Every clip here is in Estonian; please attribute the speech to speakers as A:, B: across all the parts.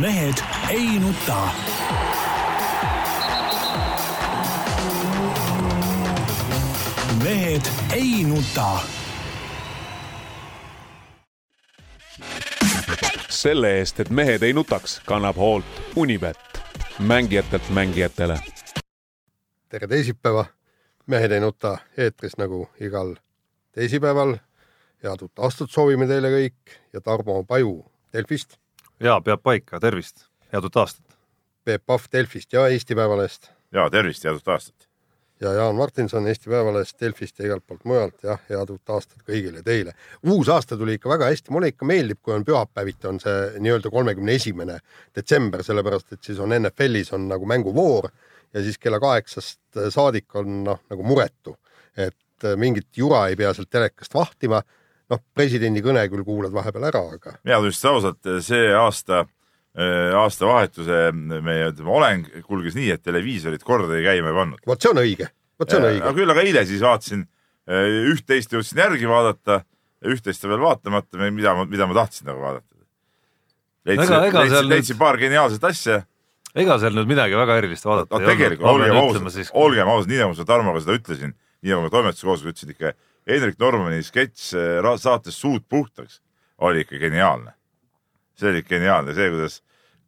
A: mehed ei nuta. mehed ei nuta
B: selle eest , et mehed ei nutaks , kannab hoolt Unibet , mängijatelt mängijatele .
C: tere teisipäeva , Mehed ei nuta eetris nagu igal teisipäeval . head uut aastat soovime teile kõik ja Tarmo Paju Delfist ,
D: ja peab paika , tervist , head uut aastat .
C: Peep Pahv Delfist ja Eesti Päevalehest
E: ja tervist , head uut aastat .
C: ja Jaan Martinson Eesti Päevalehest , Delfist ja igalt poolt mujalt ja head uut aastat kõigile teile . uus aasta tuli ikka väga hästi , mulle ikka meeldib , kui on pühapäeviti on see nii-öelda kolmekümne esimene detsember , sellepärast et siis on NFL-is on nagu mänguvoor ja siis kella kaheksast saadik on noh , nagu muretu , et äh, mingit jura ei pea sealt telekast vahtima . noh , presidendi kõne küll kuulad vahepeal ära , aga
E: mina tunnistan ausalt , see aasta , aastavahetuse äh, meie ütleme oleng kulges nii , et televiisorit korda ei käima ei pannud .
C: vot see on õige , vot see on õige
E: aga . küll aga eile siis vaatasin , üht-teist jõudsin järgi vaadata , üht-teist veel vaatamata , mida ma , mida ma tahtsin nagu vaadata .
D: Ega- ega seal
E: leidsin ,
D: nüüd-
E: leidsin paar geniaalset asja .
D: ega seal nüüd midagi väga erilist vaadata
E: no tegelikult olgem ausad ,
D: Ol...
E: olgem ausad , nii nagu ma seda Tarmoga seda ütlesin , nii nagu ma toimetuse koosolekul ütlesin ikka , Hendrik Normani sketš eh, ra- saates Suud puhtaks oli ikka geniaalne . see oli geniaalne , see , kuidas ,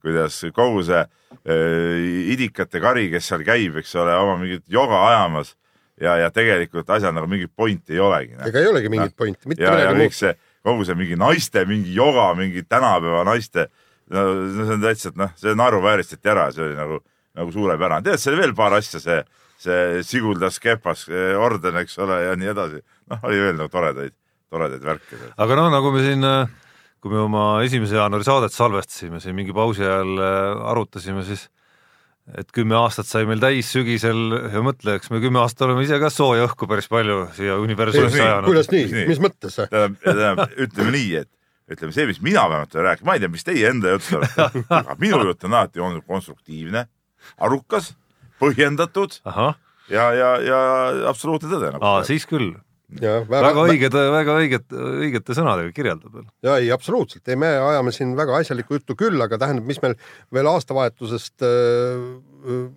E: kuidas kogu see eh, idikate kari , kes seal käib , eks ole , oma mingit joga ajamas ja , ja tegelikult asjal nagu mingit pointi ei olegi . noh.
C: ega ei olegi mingit pointi , mitte
E: ja , ja
C: midagi
E: kõik
C: muud .
E: see , kogu see mingi naiste mingi joga , mingi tänapäeva naiste , no no see on täitsa , noh , see naeruvääristati ära , see oli nagu , nagu suurepärane . tead , seal oli veel paar asja , see , see siguldas kepas eh, orden , eks ole , ja nii edasi . noh , oli veel nagu toredaid , toredaid värke seal .
D: aga noh , nagu me siin , kui me oma esimese jaanuari saadet salvestasime siin mingi pausi ajal äh, arutasime , siis et kümme aastat sai meil täis sügisel ja mõtle , eks me kümme aastat oleme ise ka sooja õhku päris palju siia universumisse ajanud .
C: kuidas nii , mis mõttes ?
E: tähendab , tähendab , ütleme nii , et ütleme see , mis mina vähemalt olen rääkinud , ma ei tea , mis teie enda jutt olete , aga minu jutt on alati olnud konstruktiivne , arukas , põhjendatud
D: ahah ,
E: ja , ja , ja absoluutne tõde nagu .
D: siis küll , väga
C: väga
D: õiged , väga õiged , õigete sõnadega kirjeldab .
C: ja ei , absoluutselt , ei me ajame siin väga asjalikku juttu küll , aga tähendab , mis meil veel aastavahetusest äh, äh,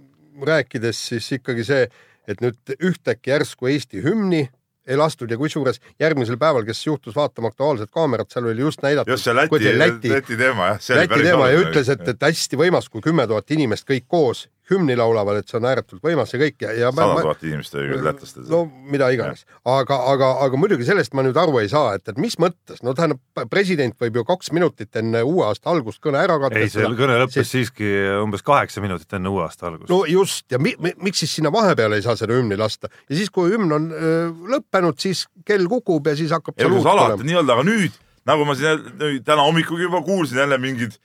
C: rääkides siis ikkagi see , et nüüd ühtäkki järsku Eesti hümni ei lastud ja kusjuures järgmisel päeval , kes juhtus vaatama Aktuaalset kaamerat , seal oli just näidatud ,
E: just see Läti ,
C: kuidas
E: Läti,
C: Läti ,
E: Läti teema jah .
C: Läti teema ja ütles , et , et hästi võimas , kui kümme tuhat inimest kõik koos hümni laulavad , et see on ääretult võimas ja kõik ja , ja ma-
E: sada
C: ma-
E: tuhat inimest oli küll lätlastel
C: no
E: no, .
C: mida iganes , aga , aga , aga muidugi sellest ma nüüd aru ei saa , et , et mis mõttes , no tähendab , president võib ju kaks minutit enne uue aasta algust kõne ära
D: ei , see
C: katkestada .
D: kõne lõppes
C: siis-
D: siiski umbes kaheksa minutit enne uue aasta algust .
C: no just ja mi, mi, miks siis sinna vahepeale ei saa seda hümni lasta ja siis , kui hümn on öö, lõppenud , siis kell kukub ja siis hakkab seal
E: elus
C: uut
E: alati
C: tulema .
E: nii-öelda , aga nüüd nagu ma siin jälle- nüüd täna hommikugi juba kuulsin jälle mingid ,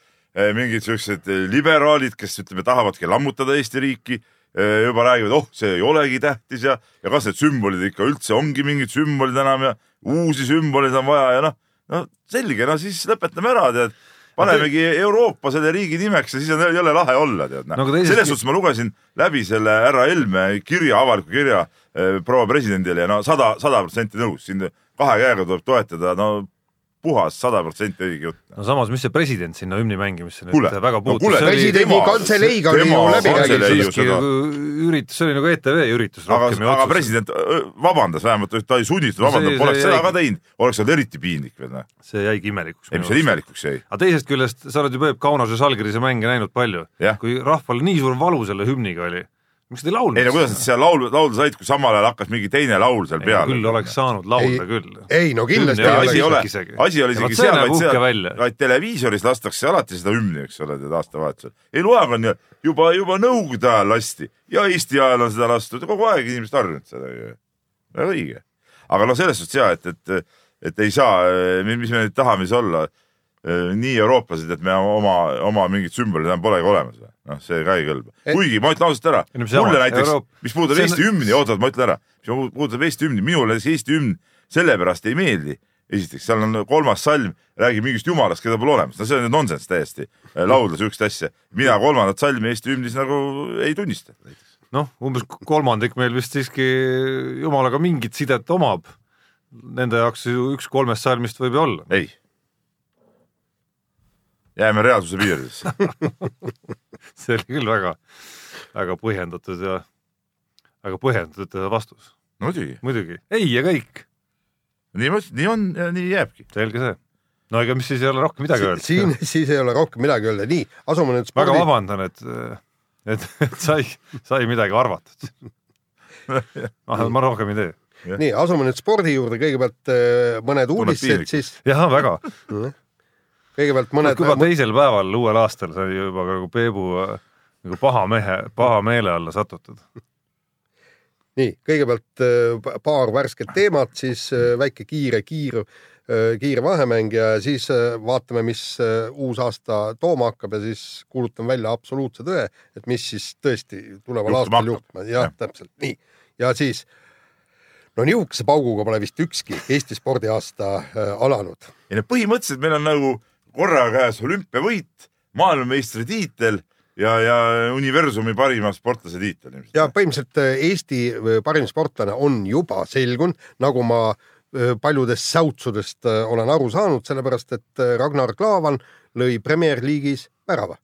E: mingid siuksed eh, liberaalid , kes ütleme , tahavadki lammutada Eesti riiki , juba räägivad , oh , see ei olegi tähtis ja , ja kas need sümbolid ikka üldse ongi mingid sümbolid enam ja uusi sümboleid on vaja ja noh , no selge , no siis lõpetame ära , tead . panemegi Euroopa selle riigi nimeks ja siis on jälle lahe olla , tead .
D: No aga teisest
E: selles
D: kü-
E: suhtes ma lugesin läbi selle härra Helme kirja , avaliku kirja eh, proua presidendile ja no sada , sada protsenti nõus , siin kahe käega tuleb toetada , no puhas sada protsenti õige jutt .
D: no samas , mis see president sinna hümni mängimisse nüüd
E: Kuule,
D: väga
E: no
D: puutus
E: kuule,
D: see oli-
C: presidendi
E: tema-
C: kantseleiga oli
E: tema
C: ju läbirääkimised .
E: kantselei-
D: see
E: ju
D: olekski
E: seda.
D: nagu üritus , see oli nagu ETV üritus
E: aga ,
D: rohkem
E: aga . president öö, vabandas vähemalt , ta ei sunnitud
D: No see-
E: vabandama ,
D: see
E: poleks seda
D: jäi-
E: ka teinud , oleks olnud eriti piinlik veel noh .
D: see jäigi imelikuks .
E: ei , mis seal . imelikuks jäi ,
D: aga teisest küljest , sa oled ju Peep Kaunase Salgrise mänge näinud palju
E: Jah. .
D: kui rahval nii suur valu selle hümniga oli , miks nad ei laulnud
E: ei no kuidas nad seal laulu , laulda said , kui samal ajal hakkas mingi teine laul seal
D: Ei, no
E: peale .
D: küll oleks saanud laulda
C: Ei-
D: küll .
C: ei no kindlasti
D: Hümn
E: ja
D: ei
C: ei
E: asi ei
C: ole .
E: ole
D: isegi. ,
E: asi ei ole
D: Ja
E: isegi
D: vot see
E: seal ,
D: näeb
E: vaid
D: uhke
E: seal ,
D: välja.
E: vaid televiisoris lastakse alati seda hümni , eks ole , tead aastavahetusel . ei loeng on ju juba , juba Nõukogude ajal lasti ja Eesti ajal on seda lastud , kogu aeg inimesed harjunud sellega . väga õige . aga noh , selles suhtes ja , et , et , et ei saa , mis me nüüd tahame siis olla , nii eurooplased , et me oma , oma mingid sümbolid enam polegi olemas . noh , see ka ei kõlba .
C: Et-
E: kuigi ma ütlen ausalt ära ,
D: Ei no mis jama,
E: mulle näiteks
D: Euroop- ,
E: mis puudutab
D: see on-
E: Eesti hümni , oota , ma ütlen ära , mis puudutab Eesti hümni , minule näiteks Eesti hümn sellepärast ei meeldi . esiteks , seal on kolmas salm , räägib mingist jumalast , keda pole olemas , no see on ju nonsenss täiesti ,
D: Mhm.
E: laulda siukest asja . mina kolmandat salmi Eesti hümnis nagu ei tunnista .
D: noh , umbes kolmandik meil vist siiski jumalaga mingit sidet omab . Nende jaoks ju üks kolmest salmist võib ju olla .
E: ei , jääme reaalsuse piiridesse .
D: see oli küll väga , väga põhjendatud ja väga põhjendatud äh, vastus .
E: no muidugi ,
D: muidugi , ei ja kõik ,
E: nii ma ütlesin , nii on ja nii jääbki .
D: selge see . no ega mis siis ei ole rohkem midagi öelda .
C: siin siis ei ole rohkem midagi öelda , nii asume nüüd
D: väga
C: spordi-
D: vabandan , et , et , et sai , sai midagi arvatud . ma, ma rohkem ei tee .
C: nii , asume nüüd spordi juurde , kõigepealt eh, mõned uudised ,
E: piinlik.
C: siis
D: jah , väga .
C: kõigepealt mõned
D: juba teisel päeval uuel aastal sai juba nagu Peebu äh, nagu paha mehe , paha meele alla satutud .
C: nii , kõigepealt äh, paar värsket teemat , siis äh, väike kiire kiir , kiire vahemäng ja siis äh, vaatame , mis äh, uus aasta tooma hakkab ja siis kuulutan välja absoluutse tõe , et mis siis tõesti tuleval
E: Juhtuma
C: aastal
E: hakkab.
C: juhtuma , jah , täpselt nii . ja siis no nihukese pauguga pole vist ükski Eesti spordiaasta äh, alanud .
E: ei no põhimõtteliselt meil on nagu korraga käes olümpiavõit , maailmameistritiitel ja , ja universumi parima sportlase tiitel ilmselt .
C: ja põhimõtteliselt äh, Eesti äh, parim sportlane on juba selgunud , nagu ma äh, paljudest säutsudest äh, olen aru saanud , sellepärast et äh, Ragnar Klavan lõi Premier League'is värava .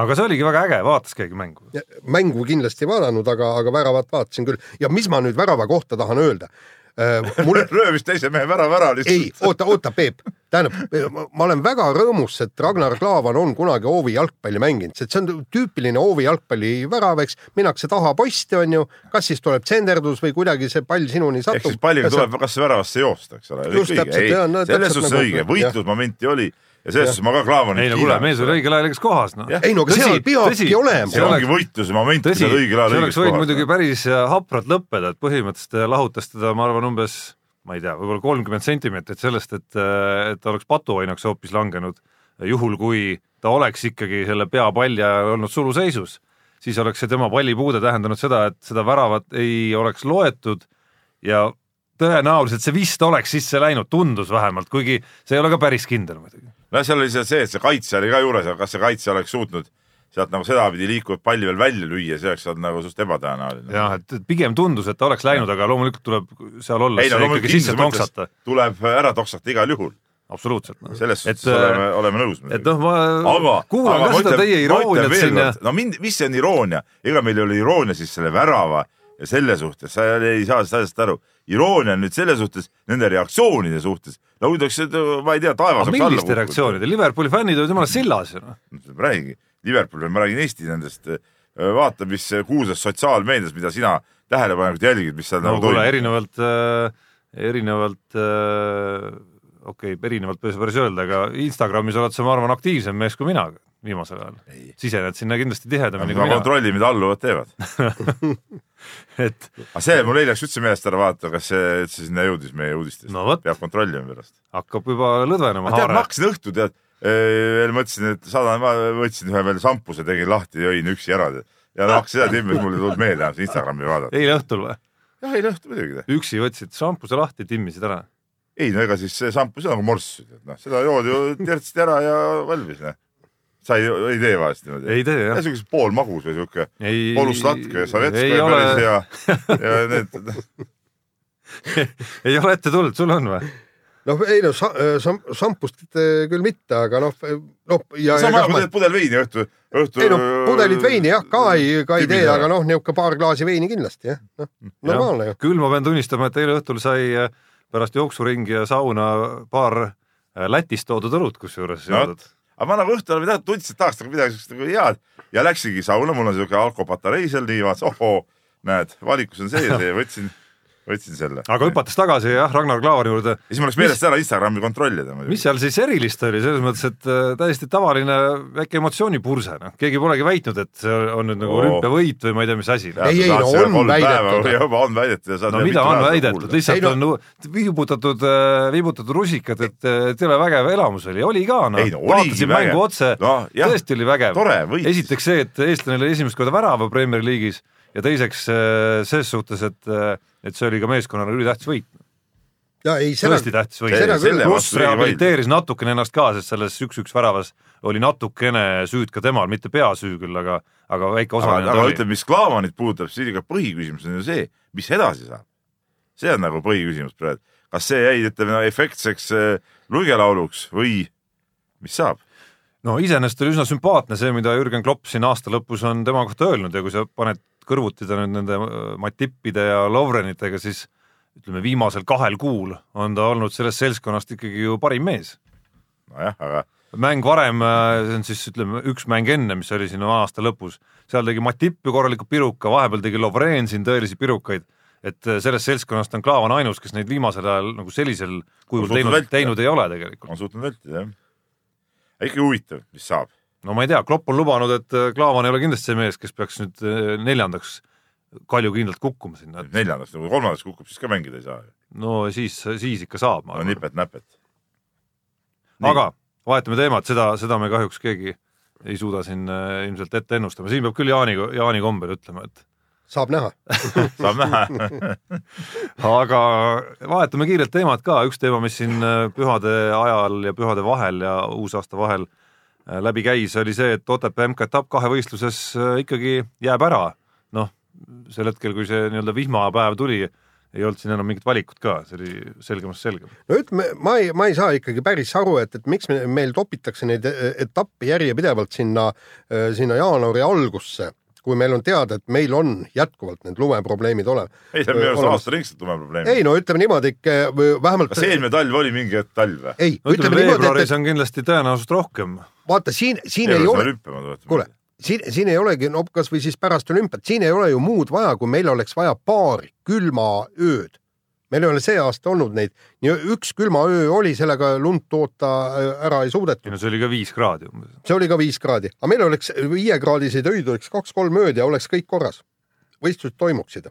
D: aga see oligi väga äge , vaatas keegi mängu .
C: mängu kindlasti ei vaadanud , aga , aga väravat vaatasin küll ja mis ma nüüd värava kohta tahan öelda . Äh, mul ,
E: löö vist teise mehe värav ära
C: ei ,
E: lihtsalt .
C: oota , oota , Peep , tähendab , ma olen väga rõõmus , et Ragnar Klavan on kunagi hoovi jalgpalli mänginud , sest see on tüüpiline hoovi jalgpallivärav , eks , minnakse taha posti , on ju , kas siis tuleb tsenderdus või kuidagi see pall sinuni
E: ehk
C: satub .
E: siis palliga tuleb kas väravasse joosta , eks ole .
C: Just täpselt, jaa, no
E: selles
C: täpselt
E: suhtes
C: nagu-
E: õige ,
C: jah.
E: võitlusmomenti oli ja selles suhtes ma ka Klaavanit
D: ei no kuule , mees oli õigel ajal õiges kohas , noh .
E: Jah.
C: ei no aga
D: Tõsi,
C: seal peabki
D: tõsi.
E: see
D: See
C: olema .
D: on-
E: ongi
D: oleks-
E: võitluse moment ,
D: tõsi ,
E: mida õigel ajal
D: see oleks
E: õiges
D: võinud muidugi
E: kohas .
D: päris hapralt lõppeda , et põhimõtteliselt äh, lahutas teda , ma arvan , umbes ma ei tea , võib-olla kolmkümmend sentimeetrit sellest , et , et ta oleks patuoinaks hoopis langenud , juhul kui ta oleks ikkagi selle peapalli ajal olnud suluseisus , siis oleks see tema pallipuude tähendanud seda , et seda väravat ei oleks loetud ja tõenäoliselt see vist oleks sisse läinud , tundus vähemalt , kuigi see ei ole ka päris kindel muidugi .
E: no seal oli see , see , et see kaitse oli ka juures , aga kas see kaitse oleks suutnud sealt nagu sedapidi liikuvat palli veel välja lüüa , see oleks olnud nagu suht ebatõenäoline .
D: jah , et et pigem tundus , et ta oleks läinud , aga loomulikult tuleb seal olles
E: ei no
D: see ikkagi sisse
E: loomulikult kindlas
D: tonksata
E: mõttes . tuleb ära toksata igal juhul ,
D: absoluutselt no. .
E: selles
D: et äh,
E: suhtes , oleme , oleme nõus .
D: et noh , ma
E: aga ,
D: kuulan
E: aga
D: ka seda teie irooniat siin ja .
E: no mind , mis see on iroonia , ega meil ei ole iroonia siis selle värava ja selle suhtes , sa ei- ei saa sellest asjast aru . iroonia on nüüd selle suhtes , nende reaktsioonide suhtes , no kui ta oleks , ma ei tea , taevas
D: aga
E: oleks alla
D: milliste reaktsioonide , Liverpooli fännid olid jumala sillas ju noh .
E: kukkunud. ma räägingi , Liverpooli , ma räägin Eesti nendest , vaata , mis äh, kuulsas sotsiaalmeedias , mida sina tähelepanelikult jälgid , mis seal
D: no
E: nagu
D: kuule ,
E: toimub .
D: erinevalt äh, , erinevalt äh, , okei okay, , erinevalt ei saa päris öelda , aga Instagramis oled sa , ma arvan , aktiivsem mees kui mina viimasel ajal . sisened sinna kindlasti tihedamini
E: ma
D: kui nagu mina ,
E: kontrollin , mida alluvad teevad .
D: et
E: aga see mul eile läks üldse meelest ära vaadata , kas see üldse sinna jõudis meie uudistest
D: No vot.
E: peab kontrollima pärast .
D: hakkab juba lõdvenema
E: ma tead , ma
D: haare .
E: hakkasin õhtu tead , veel mõtlesin , et saadan , ma võtsin ühe veel šampuse , tegin lahti , jõin üksi ära tead. ja hakkasin seda timmi , mul ei tulnud meelde enam seda Instagrami vaadata .
D: eile õhtul või ?
E: jah , eile õhtul muidugi .
D: üksi võtsid šampuse lahti , timmisid ära .
E: ei no ega siis see šampus on nagu morss , noh seda jood ju tertsid ära ja valmis noh . sa ei , ei tee vahest niimoodi .
D: ei tee jah .
E: niisugune poolmagus või sihuke
D: ei .
E: polustlatke ,
D: ei
E: savetska ja
D: ole ,
E: päris hea ja need
D: ei ole ette tulnud , sul on või ?
C: noh , ei no sa- sam- , šampust eh, küll mitte , aga noh , noh ja, ja
E: sama
C: kah
E: nagu
C: ma...
E: teed pudel veini õhtu , õhtu .
C: ei no pudelid veini jah , ka ei , ka ei tee , aga noh , niisugune paar klaasi veini kindlasti jah , noh normaalne ju .
D: küll ma pean tunnistama , et eile õhtul sai äh, pärast jooksuringi ja sauna paar äh, Lätist toodud õlut kusjuures
E: No
D: joodud no. .
E: aga ma nagu õhtul olin tead , tundsin , et tahaks nagu midagi siukest nagu head ja läksingi sauna , mul on siuke alkopatarei seal nii , vaatasin , ohoo , näed , valikus on see ja see , võtsin , võtsin selle .
D: aga hüpates tagasi jah , Ragnar Klaavani juurde ,
E: ja siis mul läks meelest ära Instagrami kontrollida
D: mis
E: muidugi .
D: seal siis erilist oli , selles mõttes , et äh, täiesti tavaline väike emotsioonipurse , noh , keegi polegi väitnud , et see on nüüd nagu
E: Oo.
D: olümpiavõit või ma ei tea , mis asi . noh.
C: Ei, ei, no on väidetud.
E: juba on väidetud ja saad
D: no
E: veel
D: mida
E: mitu
D: on
E: päeva
D: väidetud ,
E: kuulda.
D: lihtsalt
C: Ei, no-
D: on no, viibutatud , viibutatud rusikad , et äh, et jõle vägev elamus oli , oli ka noh
E: Ei, no oligi
D: vaatasin
E: vägev.
D: mängu otse
E: Noh, jah.
D: tõesti oli vägev .
E: Tore, võitis.
D: esiteks see , et eestlane oli esimest korda värava Premier League'is ja teiseks äh, selles suhtes , et , et see oli ka meeskonnale ülitähtis võit ,
C: ja ei , seda
D: tõesti tähtis
E: Ei,
C: seda
D: võit .
C: küll.
E: selle
D: pluss
E: vastu ei vaidle.
D: rehabiliteeris natukene ennast ka , sest selles üks-üks väravas oli natukene süüd ka temal , mitte peasüü küll , aga , aga väike osa
E: aga ,
D: neil
E: aga
D: oli .
E: ütleme , mis Klaavanit puudutab , siis ikka põhiküsimus on ju see , mis edasi saab . see on nagu põhiküsimus praegu . kas see jäi , ütleme , efektseks äh, luigelauluks või mis saab ?
D: no iseenesest oli üsna sümpaatne see, mida Jürgen Klopp siin aasta lõpus on tema kohta öelnud ja kui sa paned kõrvuti ta nüüd nende Matippide ja Lovrenitega, siis ütleme, viimasel kahel kuul on ta olnud sellest selskonnast ikkagi ju parim mees.
E: nojah , aga
D: mäng varem , see on siis ütleme üks mäng enne , mis oli siin aasta lõpus , seal tegi Matip ju korraliku piruka , vahepeal tegi Lovren siin tõelisi pirukaid , et äh, sellest selskonnast on Klaavan ainus , kes neid viimasel ajal nagu sellisel kujul
E: suutnud
D: teinud
E: vältida. ,
D: teinud ei ole tegelikult .
E: on suutnud vältida jah . ikkagi huvitav , mis saab .
D: no ma ei tea , Klopp on lubanud , et Klaavan ei ole kindlasti see mees , kes peaks nüüd eh, neljandaks kaljukindlalt kukkuma sinna , et
E: neljandast , kui kolmandas kukub , siis ka mängida ei saa .
D: no siis , siis ikka saab , ma
E: no
D: arvan .
E: nipet-näpet .
D: aga vahetame teemat , seda , seda me kahjuks keegi ei suuda siin eh, ilmselt ette ennustama , siin peab küll Jaani , Jaani kombel ütlema , et
C: saab näha .
E: saab näha .
D: aga vahetame kiirelt teemat ka , üks teema , mis siin eh, pühade ajal ja pühade vahel ja uusaasta vahel eh, läbi käis , oli see , et Otepää MK-etapp kahevõistluses eh, ikkagi jääb ära . noh , sel hetkel , kui see nii-öelda vihmapäev tuli , ei olnud siin enam mingit valikut ka , see oli selgemast selgem .
C: no ütleme , ma ei , ma ei saa ikkagi päris aru , et , et miks me, meil topitakse neid eh, etappe järjepidevalt sinna , sinna jaanuari algusse , kui meil on teada , et meil on jätkuvalt need lumeprobleemid ole- .
E: ei , see on minu arust aastaringselt tume
C: ei
E: probleem .
C: no ütleme niimoodi ikka või vähemalt .
E: kas eelmine talv oli mingi hetk talv või ?
C: ei
D: no
C: no, ,
D: ütleme
C: ütleme niimoodi ,
D: veebruaris
C: et ,
D: on kindlasti tõenäosust rohkem .
C: et vaata siin , siin ei
E: Eurosõna
C: ole ,
E: rüppama tuletab .
C: kuule , siin , siin ei olegi , no kasvõi siis pärast olümpiat , siin ei ole ju muud vaja , kui meil oleks vaja paari külma ööd . meil ei ole see aasta olnud neid , nii üks külma öö oli , sellega lund toota äh, ära ei
D: ei
C: suudetud ,
D: no see oli ka viis kraadi umbes .
C: see oli ka viis kraadi , aga meil oleks viiekraadiseid öid oleks kaks-kolm ööd ja oleks kõik korras . võistlused toimuksid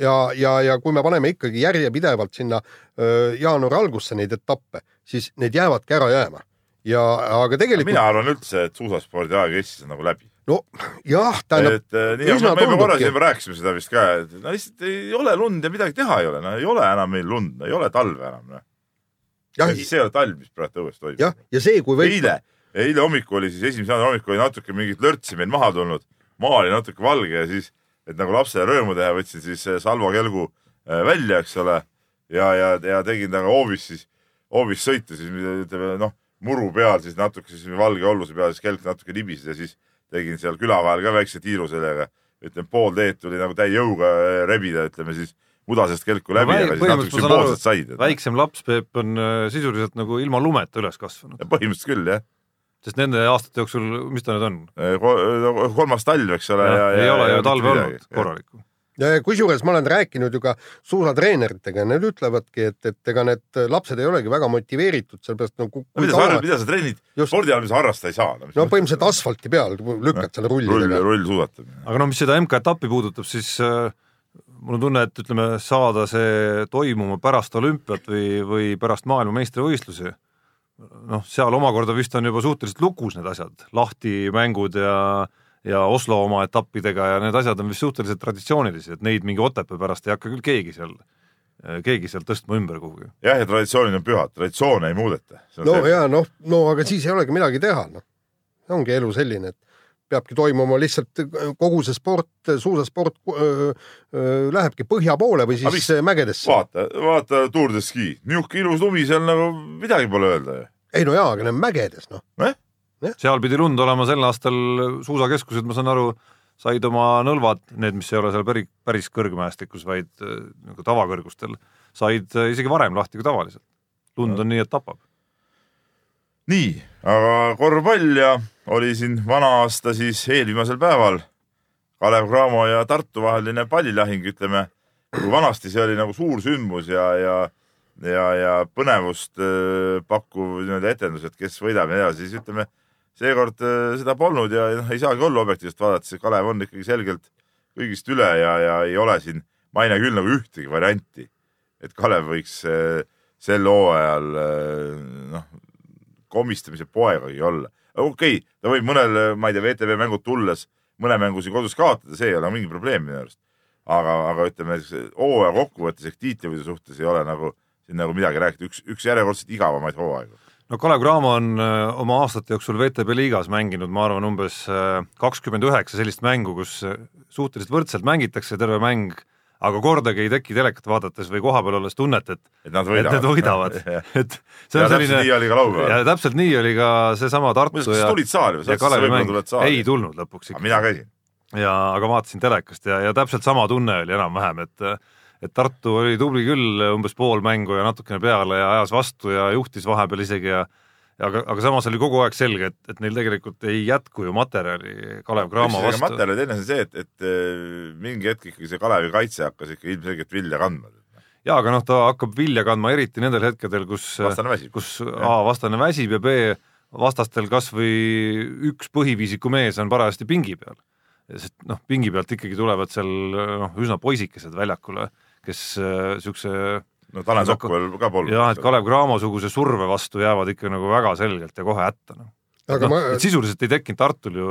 C: ja , ja , ja kui me paneme ikkagi järjepidevalt sinna öö, jaanuari algusse neid etappe , siis need jäävadki ära jääma ja , aga tegelikult
E: mina arvan üldse , et suusaspordi aeg Eestis on nagu läbi .
C: no jah , tähendab ,
E: et eh, nii ,
C: üsna
E: aga me juba korra
C: tundubki.
E: siin rääkisime seda vist ka , et no lihtsalt ei ole lund ja midagi teha ei ole , no ei ole enam meil lund , ei ole talve enam .
C: jah ,
E: see ei ole talv , mis praegu õues toimub .
C: jah , ja see , kui võib ,
E: eile , eile hommikul oli siis esimese jaanuari hommikul oli natuke mingit lörtsi meil maha tulnud , maa oli natuke valge ja siis , et nagu lapsele rõõmu teha , võtsin siis eh, salvakelgu eh, välja , eks ole , ja , ja , ja tegin temaga hoovis siis , hoovis sõitu siis ütleme noh , muru peal siis natuke siis valge olluse peal siis kelk natuke libises ja siis tegin seal küla vahel ka väikse tiiru sellega , ütleme pool teed tuli nagu täie jõuga eh, rebida , ütleme siis mudasest kelku läbi , aga siis natuke sümboolselt said . noh,
D: väiksem laps , Peep , on äh, sisuliselt nagu ilma lumeta üles kasvanud ,
E: põhimõtteliselt küll jah .
D: sest nende aastate jooksul , mis ta nüüd on ?
E: Äh, Ko- nagu kolmas talv , eks ole .
D: ei ole ju talve olnud . korralikku .
C: kusjuures ma olen rääkinud ju ka suusatreeneritega ja need ütlevadki , et , et ega need lapsed ei olegi väga motiveeritud , sellepärast nagu
E: mida sa harrad , mida sa trennid ,
C: Just.
E: spordiala , mis sa harrastada ei saa .
C: no põhimõtteliselt asfalti peal lükkad selle
E: rull ,
C: rullidega .
E: rullsuusatamine .
D: aga no mis seda MK-etappi puudutab , siis äh, mul on tunne , et ütleme , saada see toimuma pärast olümpiat või , või pärast maailmameistrivõistlusi , noh , seal omakorda vist on juba suhteliselt lukus need asjad , lahtimängud ja ja Oslo oma etappidega ja need asjad on vist suhteliselt traditsioonilised , et neid mingi Otepää pärast ei hakka küll keegi seal , keegi seal tõstma ümber kuhugi .
E: jah , ja traditsioonid on pühad , traditsioone ei muudeta .
C: no ja noh , no aga siis ei olegi midagi teha , noh . ongi elu selline , et peabki toimuma lihtsalt äh, kogu see sport , suusasport öö, öö, lähebki põhja poole või
E: Aga mis-
C: siis äh, mägedesse .
E: vaata , vaata Tour de Ski , niisugune ilus lumi seal nagu midagi pole öelda ju .
C: ei no jaa , aga need on mägedes , noh .
D: seal pidi lund olema sel aastal , suusakeskused , ma saan aru , said oma nõlvad , need , mis ei ole seal päris , päris kõrgmäestikus , vaid äh, nagu tavakõrgustel , said äh, isegi varem lahti kui tavaliselt . lund on nii , et tapab .
E: nii , aga korvpall ja oli siin vana aasta siis eelviimasel päeval . Kalev Cramo ja Tartu vaheline pallilahing , ütleme . kui vanasti see oli nagu suur sündmus ja , ja , ja , ja põnevust äh, pakkuv nii-öelda etendus , et kes võidab ja nii edasi , siis ütleme seekord äh, seda polnud ja ja noh , ei saagi olla objektiivselt vaadates , et Kalev on ikkagi selgelt kõigist üle ja , ja ei ole siin , ma ei näe küll nagu ühtegi varianti , et Kalev võiks äh, sel hooajal äh, noh , komistamise poegagi olla . okei okay, , ta võib mõnel , ma ei tea , VTV mängud tulles mõne mängu siin kodus kaotada , see ei ole mingi probleem minu arust . aga , aga ütleme , hooaja kokkuvõttes ehk tiitlivõidu suhtes ei ole nagu siin nagu midagi rääkida , üks , üks järjekordselt igavamaid hooaegu .
D: no Kalev Cramo on äh, oma aastate jooksul VTB liigas mänginud , ma arvan , umbes kakskümmend üheksa sellist mängu , kus äh, suhteliselt võrdselt äh, mängitakse terve mäng , aga kordagi ei teki telekat vaadates või kohapeal olles tunnet, et
E: et nad
D: et
E: võidavad .
D: need võidavad
E: ja ,
D: et see
E: ja
D: on
E: täpselt
D: selline
E: nii oli ka laupäeval .
D: ja täpselt nii oli ka seesama Tartu
E: muuseas , kas
D: ja,
E: sa tulid saali või ?
D: ja Kalevi mäng
E: tuled saali
D: ei . tulnud lõpuks ikka
E: mina käisin .
D: ja aga vaatasin telekast ja , ja täpselt sama tunne oli enam-vähem , et et Tartu oli tubli küll umbes pool mängu ja natukene peale ja ajas vastu ja juhtis vahepeal isegi ja ja aga , aga samas oli kogu aeg selge , et , et neil tegelikult ei jätku ju materjali Kalev Cramo
E: üks
D: vastu .
E: materjal ja teine asi on see , et , et äh, mingi hetk ikkagi see Kalevi kaitse hakkas ikka ilmselgelt vilja kandma .
D: ja aga noh , ta hakkab vilja kandma eriti nendel hetkedel , kus
E: vastane väsib .
D: kus A vastane väsib ja B vastastel kasvõi üks põhiviisiku mees on parajasti pingi peal . sest noh , pingi pealt ikkagi tulevad seal noh , üsna poisikesed väljakule , kes äh, siukse
E: no Tanel Sokk veel ka polnud .
D: jah , et Kalev Cramo suguse surve vastu jäävad ikka nagu väga selgelt ja kohe hätta noh .
C: aga ma ,
D: et sisuliselt ei tekkinud Tartul ju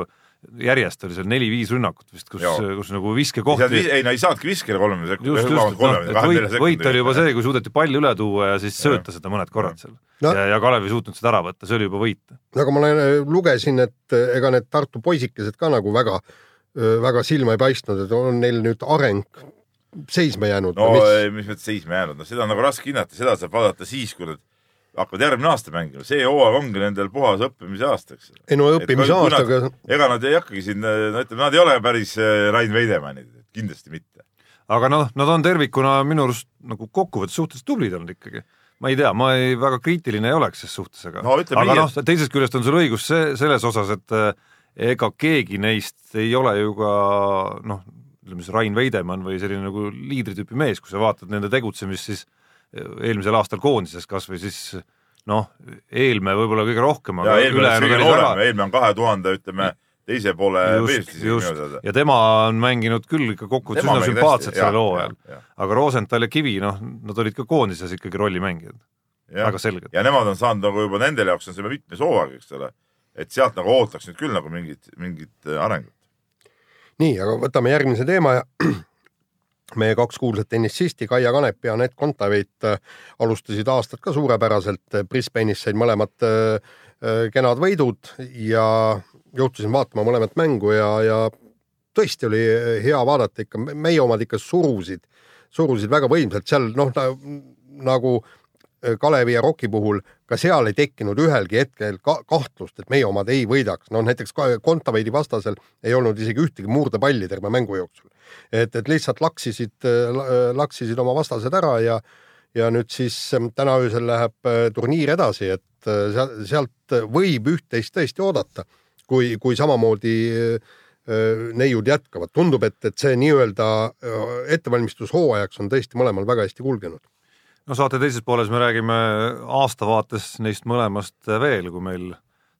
D: järjest oli seal neli-viis rünnakut vist , kus ,
E: Joo.
D: kus nagu
E: kohti .
D: viskekohti
E: ei , no ei saanudki viskida kolmekümne
D: just ,
E: sekundi ,
D: just ,
E: kolmekümne ,
D: et
E: kahekümne
D: võit ,
E: nelja
D: võit oli juba
E: sekundi .
D: see , kui suudeti palli üle tuua ja siis sööta seda mõned korrad seal .
C: No-
D: ja , ja Kalev ei suutnud seda ära võtta , see oli juba võit .
C: aga nagu ma olen- äh, lugesin , et äh, ega need Tartu poisikesed ka nagu väga , väga silma ei paistnud , et on neil nüüd areng seisma jäänud
E: no
C: või mis ?
E: ei, mis mõttes seisma jäänud , no seda on nagu raske hinnata , seda saab vaadata siis , kui nad hakkavad järgmine aasta mängima , see hooaeg ongi nendel puhas õppimise aastaks .
C: ei no õppimise
E: kui nad-
C: aastaga ,
E: ega nad ei hakkagi siin , no ütleme , nad ei ole päris äh, Rain Veidemannid , kindlasti mitte .
D: aga noh , nad on tervikuna minu arust nagu kokkuvõttes suhteliselt tublid olnud ikkagi . ma ei tea , ma ei , väga kriitiline ei oleks ses suhtes , aga
E: No ütleme
D: aga
E: nii,
D: noh , teisest küljest on sul õigus see , selles osas , et äh, ega keegi neist ei ole ju ka noh , ütleme siis Rain Veidemann või selline nagu liidri tüüpi mees , kui sa vaatad nende tegutsemist , siis eh, eelmisel aastal koondises kas või siis noh , Eelme võib-olla kõige rohkem ,
E: ja
D: aga
E: eelmine on
D: ülejäänud
E: kõige
D: olid väga
E: noorem , eelmine on kahe tuhande , ütleme teise poole
D: just , just , ja tema on mänginud küll ikka kokkuvõttes üsna sümpaatselt sellel hooajal . aga Rosenthal ja Kivi , noh , nad olid ka koondises ikkagi rollimängijad , väga selged .
E: ja nemad on saanud nagu juba nendele jaoks on see juba mitmes hooaeg , eks ole . et sealt nagu ootaks nüüd küll nagu mingit , mingit äh, arengut .
C: nii , aga võtame järgmise teema ja meie kaks kuulsat tennisisti Kaia Kanep ja Anett Kontaveit äh, alustasid aastat ka suurepäraselt . Brisbane'is said mõlemad äh, äh, kenad võidud ja juhtusin vaatama mõlemat mängu ja , ja tõesti oli äh, hea vaadata ikka , meie omad ikka surusid , surusid väga võimsalt seal noh na, , nagu Kalevi ja Rocki puhul ka seal ei tekkinud ühelgi hetkel ka kahtlust , et meie omad ei võidaks . no näiteks ka- Kontaveidi vastasel ei olnud isegi ühtegi murdepalli terve mängu jooksul . et , et lihtsalt laksisid , laksisid oma vastased ära ja , ja nüüd siis ähm, täna öösel läheb äh, turniir edasi , et äh, sea- sealt võib üht-teist tõesti oodata , kui , kui samamoodi äh, äh, neiud jätkavad . tundub , et , et see nii-öelda äh, ettevalmistushooajaks on tõesti mõlemal väga hästi kulgenud .
D: no saate teises pooles me räägime aasta vaates neist mõlemast veel , kui meil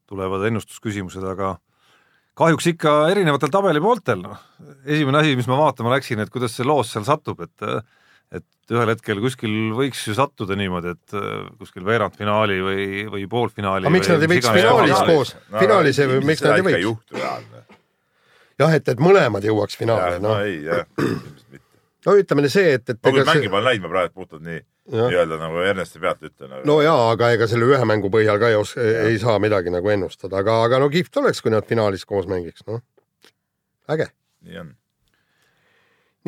D: tulevad ennustusküsimused , aga kahjuks ikka erinevatel tabelipooltel , noh . esimene asi , mis ma vaatama läksin , et kuidas see loos seal satub , et et ühel hetkel kuskil võiks ju sattuda niimoodi , et kuskil veerandfinaali või , või poolfinaali
C: Aga miks nad ei
D: mis
C: võiks
D: iganes
C: finaalis
D: kohale-
C: koos- finaalis ei- miks nad ei
E: seda ikka
C: võiks?
E: juhtu reaalne .
C: jah , et , et mõlemad jõuaks finaali ,
E: no
C: noh .
E: ei jah , ilmselt mitte .
C: no ütleme see , et , et
E: no kui
C: ega
E: mängi
C: see ,
E: ma olen läinud , ma praegu puhtalt nii
C: jah ,
E: nii-öelda nagu Ernesti pealt ütlen , aga
C: no jaa , aga ega selle ühe mängu põhjal ka ei os- , ei saa midagi nagu ennustada , aga , aga no kihvt oleks , kui nad finaalis koos mängiks , noh . äge ,
E: nii on .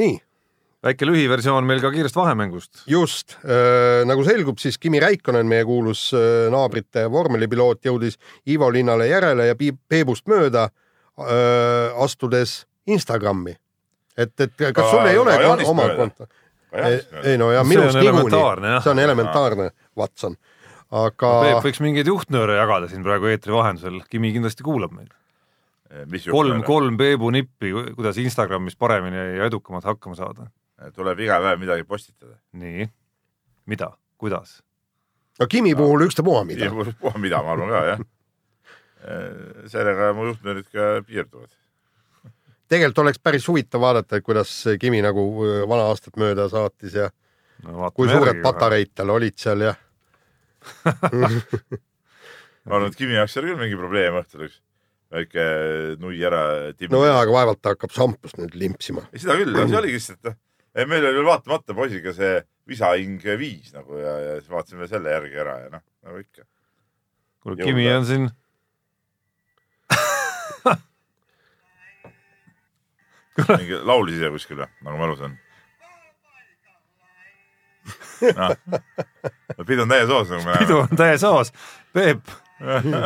C: nii ,
D: väike lühiversioon meil ka kiirest vahemängust .
C: just äh, , nagu selgub , siis Kimi Räikkonen , meie kuulus äh, naabrite vormelipiloot , jõudis Ivo linnale järele ja piib Peebust mööda äh, astudes Instagrami . et , et kas sul
E: Ka-
C: ei ole
E: ka
C: kon-
E: Jaanist
C: oma
E: mööda.
C: konto ?
E: aga
C: ei,
E: jah ,
C: ei no ja
D: See
C: minust
D: on elementaarne,
C: niikuinii ,
D: jah.
C: see on elementaarne , Watson . aga
D: Peep võiks mingeid juhtnööre jagada siin praegu eetri vahendusel , Kimi kindlasti kuulab meid .
E: eh, mis
D: kolm ,
E: juhtub ,
D: kolm Peebu nippi , kuidas Instagramis paremini ja edukamalt hakkama saada .
E: Eh, tuleb iga päev midagi postitada .
D: nii , mida , kuidas ?
C: no Kimi puhul ükstapuha mida .
E: puha mida , ma arvan ka jah . sellega mu juhtnöörid ka piirduvad .
C: tegelikult oleks päris huvitav vaadata , et kuidas Kimi nagu äh, vana aastat mööda saatis ja
D: no
C: kui suured . patareid tal olid seal ja
E: ma arvan , et Kimi jaoks oli küll mingi probleem õhtul üks väike nui ära timm
C: nojaa , aga vaevalt ta hakkab šampust nüüd limpsima .
E: ei seda küll , see oligi lihtsalt noh , meil oli veel vaatamata poisiga see visahing viis nagu ja , ja siis vaatasime selle järgi ära ja noh , nagu ikka .
D: kuule , Kimi on siin .
E: mingi laul ise kuskil või , nagu mälus on . Noh, pidu on täies hoos , nagu me
D: pidu . on täies hoos . Peep ,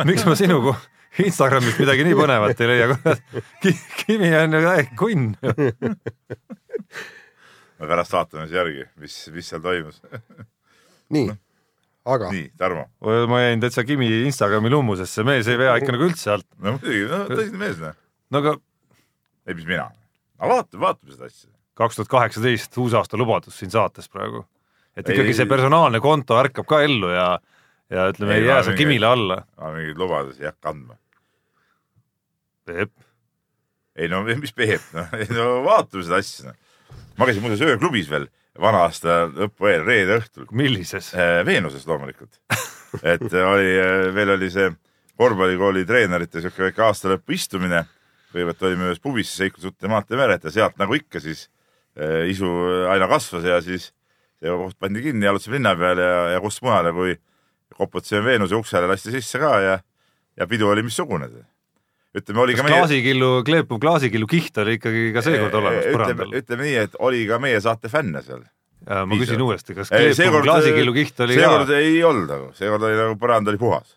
D: miks ma sinu ko- Instagramist midagi nii põnevat ei leia , Kimi on ju täielik kunn .
E: me pärast vaatame siis järgi , mis , mis seal toimus .
C: nii , aga
E: nii , Tarmo .
D: ma jäin täitsa Kimi Instagrami lummusesse , mees ei vea ikka nagu üldse alt .
E: no muidugi , no tõsine mees , noh .
D: no aga
E: ei , mis mina . aga vaatame , vaatame seda asja .
D: kaks tuhat kaheksateist uusaasta lubadus siin saates praegu . et
E: Ei,
D: ikkagi
E: ei,
D: see
E: ei.
D: personaalne konto ärkab ka ellu ja , ja ütleme ,
E: Ei,
D: ei jää
E: ma
D: see
E: mingi-
D: Kimile alla .
E: ma mingeid lubadusi ei hakka andma .
D: Peep ,
E: ei no mis Peep , noh , ei no vaatame seda asja , noh . ma käisin muuseas ööklubis veel vana-aasta lõpu eel , reede õhtul .
D: millises ?
E: Veenuses loomulikult . et oli , veel oli see korvpallikooli treenerite sihuke väike aastalõpu istumine . kõigepealt olime ühes pubis Seiklusute maantee meret ja sealt nagu ikka siis eh, isu aina kasvas ja siis see koht pandi kinni , jalutasime linna peale ja , ja kus mujale , kui koputasime Veenuse uksele , lasti sisse ka ja , ja pidu oli missugune . ütleme , oli ka meie .
D: klaasikillu , kleepuv klaasikillu kiht oli ikkagi ka seekord olemas põrandal
E: ütleme ,. ütleme nii , et oli ka meie saate fänne seal .
D: ma
E: piisavalt.
D: küsin uuesti , kas
E: Ei,
D: kleepuv
E: seekord- äh,
D: klaasikillu kiht oli ka
E: seekord ? ei olnud nagu , seekord oli nagu põrand oli puhas ,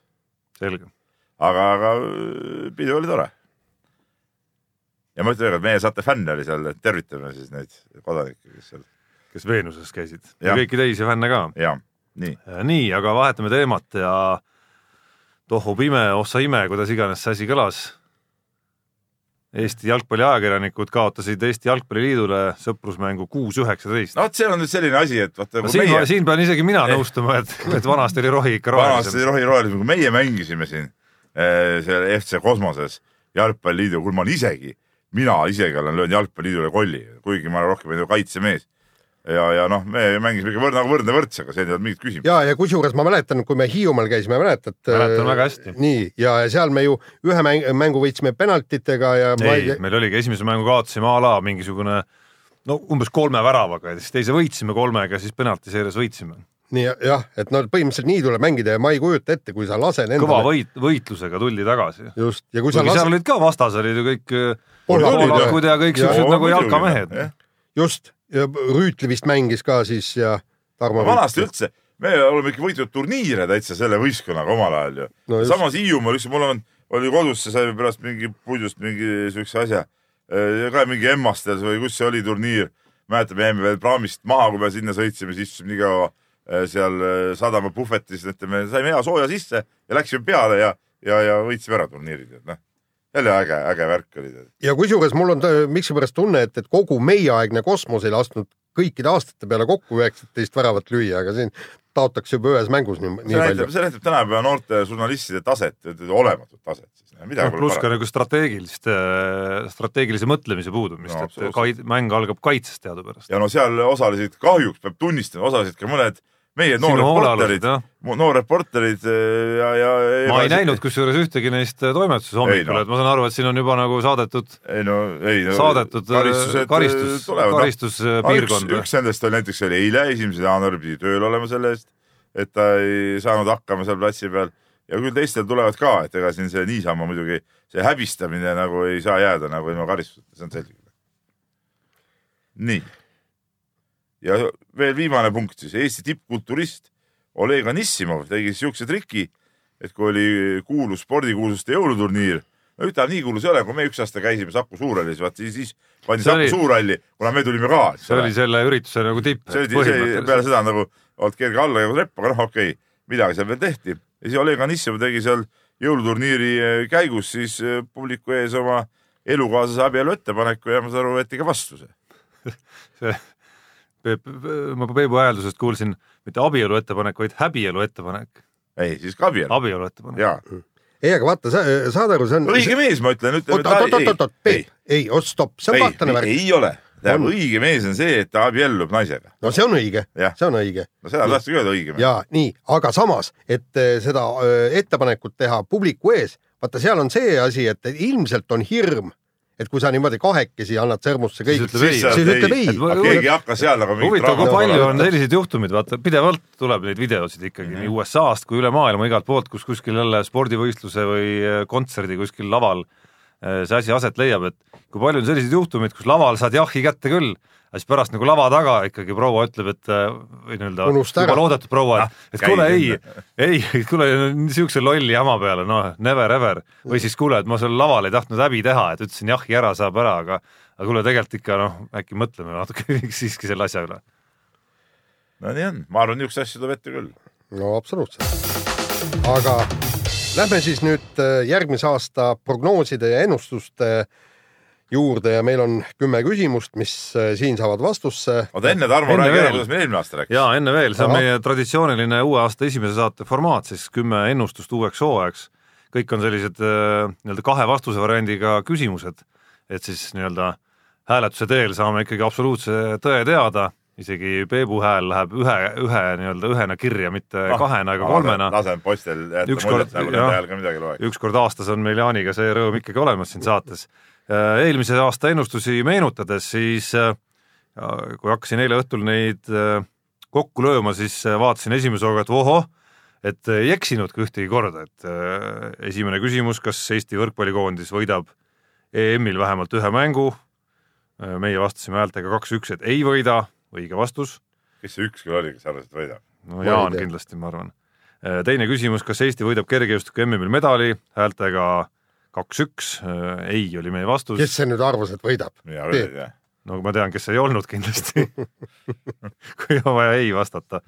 D: selge .
E: aga , aga äh, pidu oli tore . ja ma ütlen veel kord , meie saate fänne oli seal , tervitame siis neid kodanikke , kes seal
D: kes Veenuses käisid ja
E: Jah.
D: kõiki teisi fänne ka .
E: ja nii ,
D: Äh, nii , aga vahetame teemat ja tohub ime , ossa ime , kuidas iganes see asi kõlas . Eesti jalgpalliajakirjanikud kaotasid Eesti Jalgpalliliidule sõprusmängu kuus üheksateist .
E: no vot , see on nüüd selline asi , et vaata
D: no
E: kui
D: siin
E: meie ,
D: meie... , siin pean isegi mina
E: Eh.
D: nõustuma , et , et vanasti oli rohi ikka
E: vanasti
D: rohelisem .
E: rohi rohelisem , kui meie mängisime siin eh, seal FC Kosmoses jalgpalliliidu , kui ma olen isegi , mina isegi olen löönud jalgpalliliidule kolli , kuigi ma olen rohkem ju kaitsemees . ja , ja noh , me mängisime ikka võrd- nagu võrdne võrdsega , see ei olnud mingit küsimust .
C: ja , ja kusjuures ma mäletan , kui me Hiiumaal käisime , mäletad ?
D: Mäletan väga hästi.
C: nii , ja ja seal me ju ühe mäng, mängu võitsime penaltitega ja ma
D: ei , meil oligi esimese mängu kaotasime a la mingisugune no umbes kolme väravaga ja siis teise võitsime kolmega , siis penaltiseerias võitsime .
C: nii jah , et no põhimõtteliselt nii tuleb mängida ja ma ei kujuta ette , kui sa lased endale .
D: kõva võit , võitlusega tuldi tagasi .
C: just , ja kui sa
D: kuigi seal
C: lased ,
D: olid ka vastas olid ju kõik eh,
C: Poolakud ja-
D: poolakud ja kõik
C: ja-
D: siuksed nagu jalkamehed .
C: just , Rüütli vist mängis ka siis ja Tarmo .
E: vanasti . üldse , me oleme ikka võitnud turniire täitsa selle võistkonnaga omal ajal ju
C: No
E: no,
C: just. .
E: samas Hiiumaal , üks mul on , oli kodus , see sai pärast mingi puidust mingi siukse asja , ka mingi Emmastes või kus see oli turniir . mäletan , me jäime veel praamist maha , kui me sinna sõitsime , siis istusime nii kaua eh, seal eh, sadama puhvetis , ütleme , saime hea sooja sisse ja läksime peale ja , ja , ja võitsime ära turniirid , et noh , jälle äge , äge värk oli .
C: ja kusjuures mul on ta- miksipärast tunne , et , et kogu meieaegne kosmos ei lasknud kõikide aastate peale kokku üheksateist väravat lüüa , aga siin taotakse juba ühes mängus nii,
E: see
C: nii
E: näitab ,
C: palju .
E: see näitab tänapäeva noorte žurnalistide taset , olematut taset siis . noh,
D: pluss ka nagu strateegilist , strateegilise mõtlemise puudumist
E: No,
D: no, , et
E: absoluutselt.
D: kait- , mäng algab kaitsest teadupärast .
E: ja no seal osalesid , kahjuks peab tunnistama , osalesid ka mõned meie
D: Sinu hoolealused
E: noorreporterid ,
D: jah ,
E: noorreporterid eh, ja , ja .
D: ma ei näinud kusjuures ühtegi neist äh, toimetuses hommikul ,
E: no.
D: et ma saan aru , et siin on juba nagu saadetud ,
E: ei no , ei no .
D: saadetud karistus , karistus , karistuspiirkonda .
E: äh, noh. üks nendest oli näiteks oli eile , esimesel jaanuaril pidi tööl olema selle eest , et ta ei saanud hakkama seal platsi peal ja küll teistel tulevad ka , et ega siin see niisama muidugi , see häbistamine nagu ei saa jääda nagu ilma karistuseta , see on selge . nii . ja veel viimane punkt siis , Eesti tippkulturist Oleg Anissimov tegi siukse triki , et kui oli kuulus spordikuulsuste jõuluturniir , no ütleme nii kuulus ei ole , kui me üks aasta käisime Saku Suurhallis , vaat siis, siis pandi
D: See
E: Saku
D: oli-
E: Suurhalli , kuna me tulime ka .
D: see oli selle ürituse nagu tipp
E: see oli , see oli peale
D: põhimõtteliselt .
E: seda nagu olnud kerge alla ja trepp , aga noh , okei okay, , midagi seal veel tehti . ja siis Oleg Anissov tegi seal jõuluturniiri eh, käigus siis eh, publiku ees oma elukaaslase abielu ettepaneku ja ma saan aru , võeti ka vastu see .
D: ma Peebu hääldusest kuulsin mitte abielu ettepanek , vaid häbielu ettepanek ,
E: ei , siis ka abielu .
D: abielu ettepanek .
E: jaa ,
C: ei , aga vaata , sa saad aru , see on .
E: õige mees , ma ütlen ,
C: oot ,
E: ütleme .
C: oot , oot , oot , oot , Peep , ei , oot , stopp , see on kahtlane
E: ei ,
C: värk .
E: ei ole .
C: On.
E: õige mees on see , et ta abiellub naisega .
C: no see on õige ,
E: Jah.
C: see on õige
E: no seda tahtsin öelda õige mees .
C: ja nii , aga samas , et eh, seda öö, ettepanekut teha publiku ees , vaata , seal on see asi , et ilmselt on hirm , et kui sa niimoodi kahekesi annad sõrmusse kõik ,
D: ütleb ei.
C: siis siis ütleb ei .
D: ma-
E: keegi ei hakka seal nagu mingit
D: huvitav , kui
E: draamat
D: palju
E: korraldama.
D: on selliseid juhtumeid , vaata pidevalt tuleb neid videosid ikkagi mm -hmm. nii USA-st kui üle maailma igalt poolt , kus äh, kuskil jälle spordivõistluse või kontserdi kuskil laval äh, see asi aset leiab, et kui palju on selliseid juhtumeid, kus laval saad jahi kätte küll, aga siis pärast nagu lava taga ikkagi proua ütleb, et äh, või nii-öelda
C: Unusta ära.
D: juba loodetud proua , et, et
E: käi
D: kuule ei
E: sinna. ,
D: ei , et kuule niisuguse lolli jama peale , noh never ever või siis kuule , et ma seal laval ei tahtnud häbi teha , et ütlesin jahi ära saab ära , aga aga kuule , tegelikult ikka noh , äkki mõtleme natuke siiski selle asja üle .
E: no nii on , ma arvan , niisuguseid asju tuleb ette küll .
C: no absoluutselt . aga lähme siis nüüd äh, järgmise aasta prognooside ja ennustuste äh, juurde ja meil on kümme küsimust , mis äh, siin saavad vastusse .
E: oota enne , Tarmo ,
D: Enne
E: räägi ära ,
D: veel.
E: kuidas me eelmine aasta rääkisime .
D: ja enne veel , see on
C: Ahah.
D: meie traditsiooniline uue aasta esimese saate formaat , siis kümme ennustust uueks hooajaks . kõik on sellised äh, nii-öelda kahe vastuse variandiga küsimused , et siis nii-öelda hääletuse teel saame ikkagi absoluutse tõe teada , isegi Peebu hääl läheb ühe , ühe nii-öelda ühena kirja , mitte
E: Ah,
D: kahena ega nagu kolmena .
E: lasen poistel jätta
D: Ükskord-
E: muljet , nagu nende
D: jah.
E: hääl ka midagi loeks .
D: üks kord aastas on meil Jaaniga see rõõm ikkagi olemas siin saates . eelmise aasta ennustusi meenutades , siis äh, kui hakkasin eile õhtul neid äh, kokku lööma , siis äh, vaatasin esimese hooga , et ohoh , et ei eksinudki ühtegi korda , et äh, esimene küsimus , kas Eesti võrkpallikoondis võidab EM-il vähemalt ühe mängu . meie vastasime häältega kaks-üks , et ei võida , õige vastus
E: kes see üks küll oli , kes arvas , et võidab ?
D: no
C: ei
D: Jaan
C: tea.
D: kindlasti , ma arvan . teine küsimus , kas Eesti võidab kergejõustiku MM-il medali häältega kaks-üks , ei oli meie vastus
C: kes
D: yes. .
C: see nüüd arvas , et võidab ?
E: mina küll ei tea .
D: no ma tean , kes ei olnud kindlasti . kui on vaja ei vastata .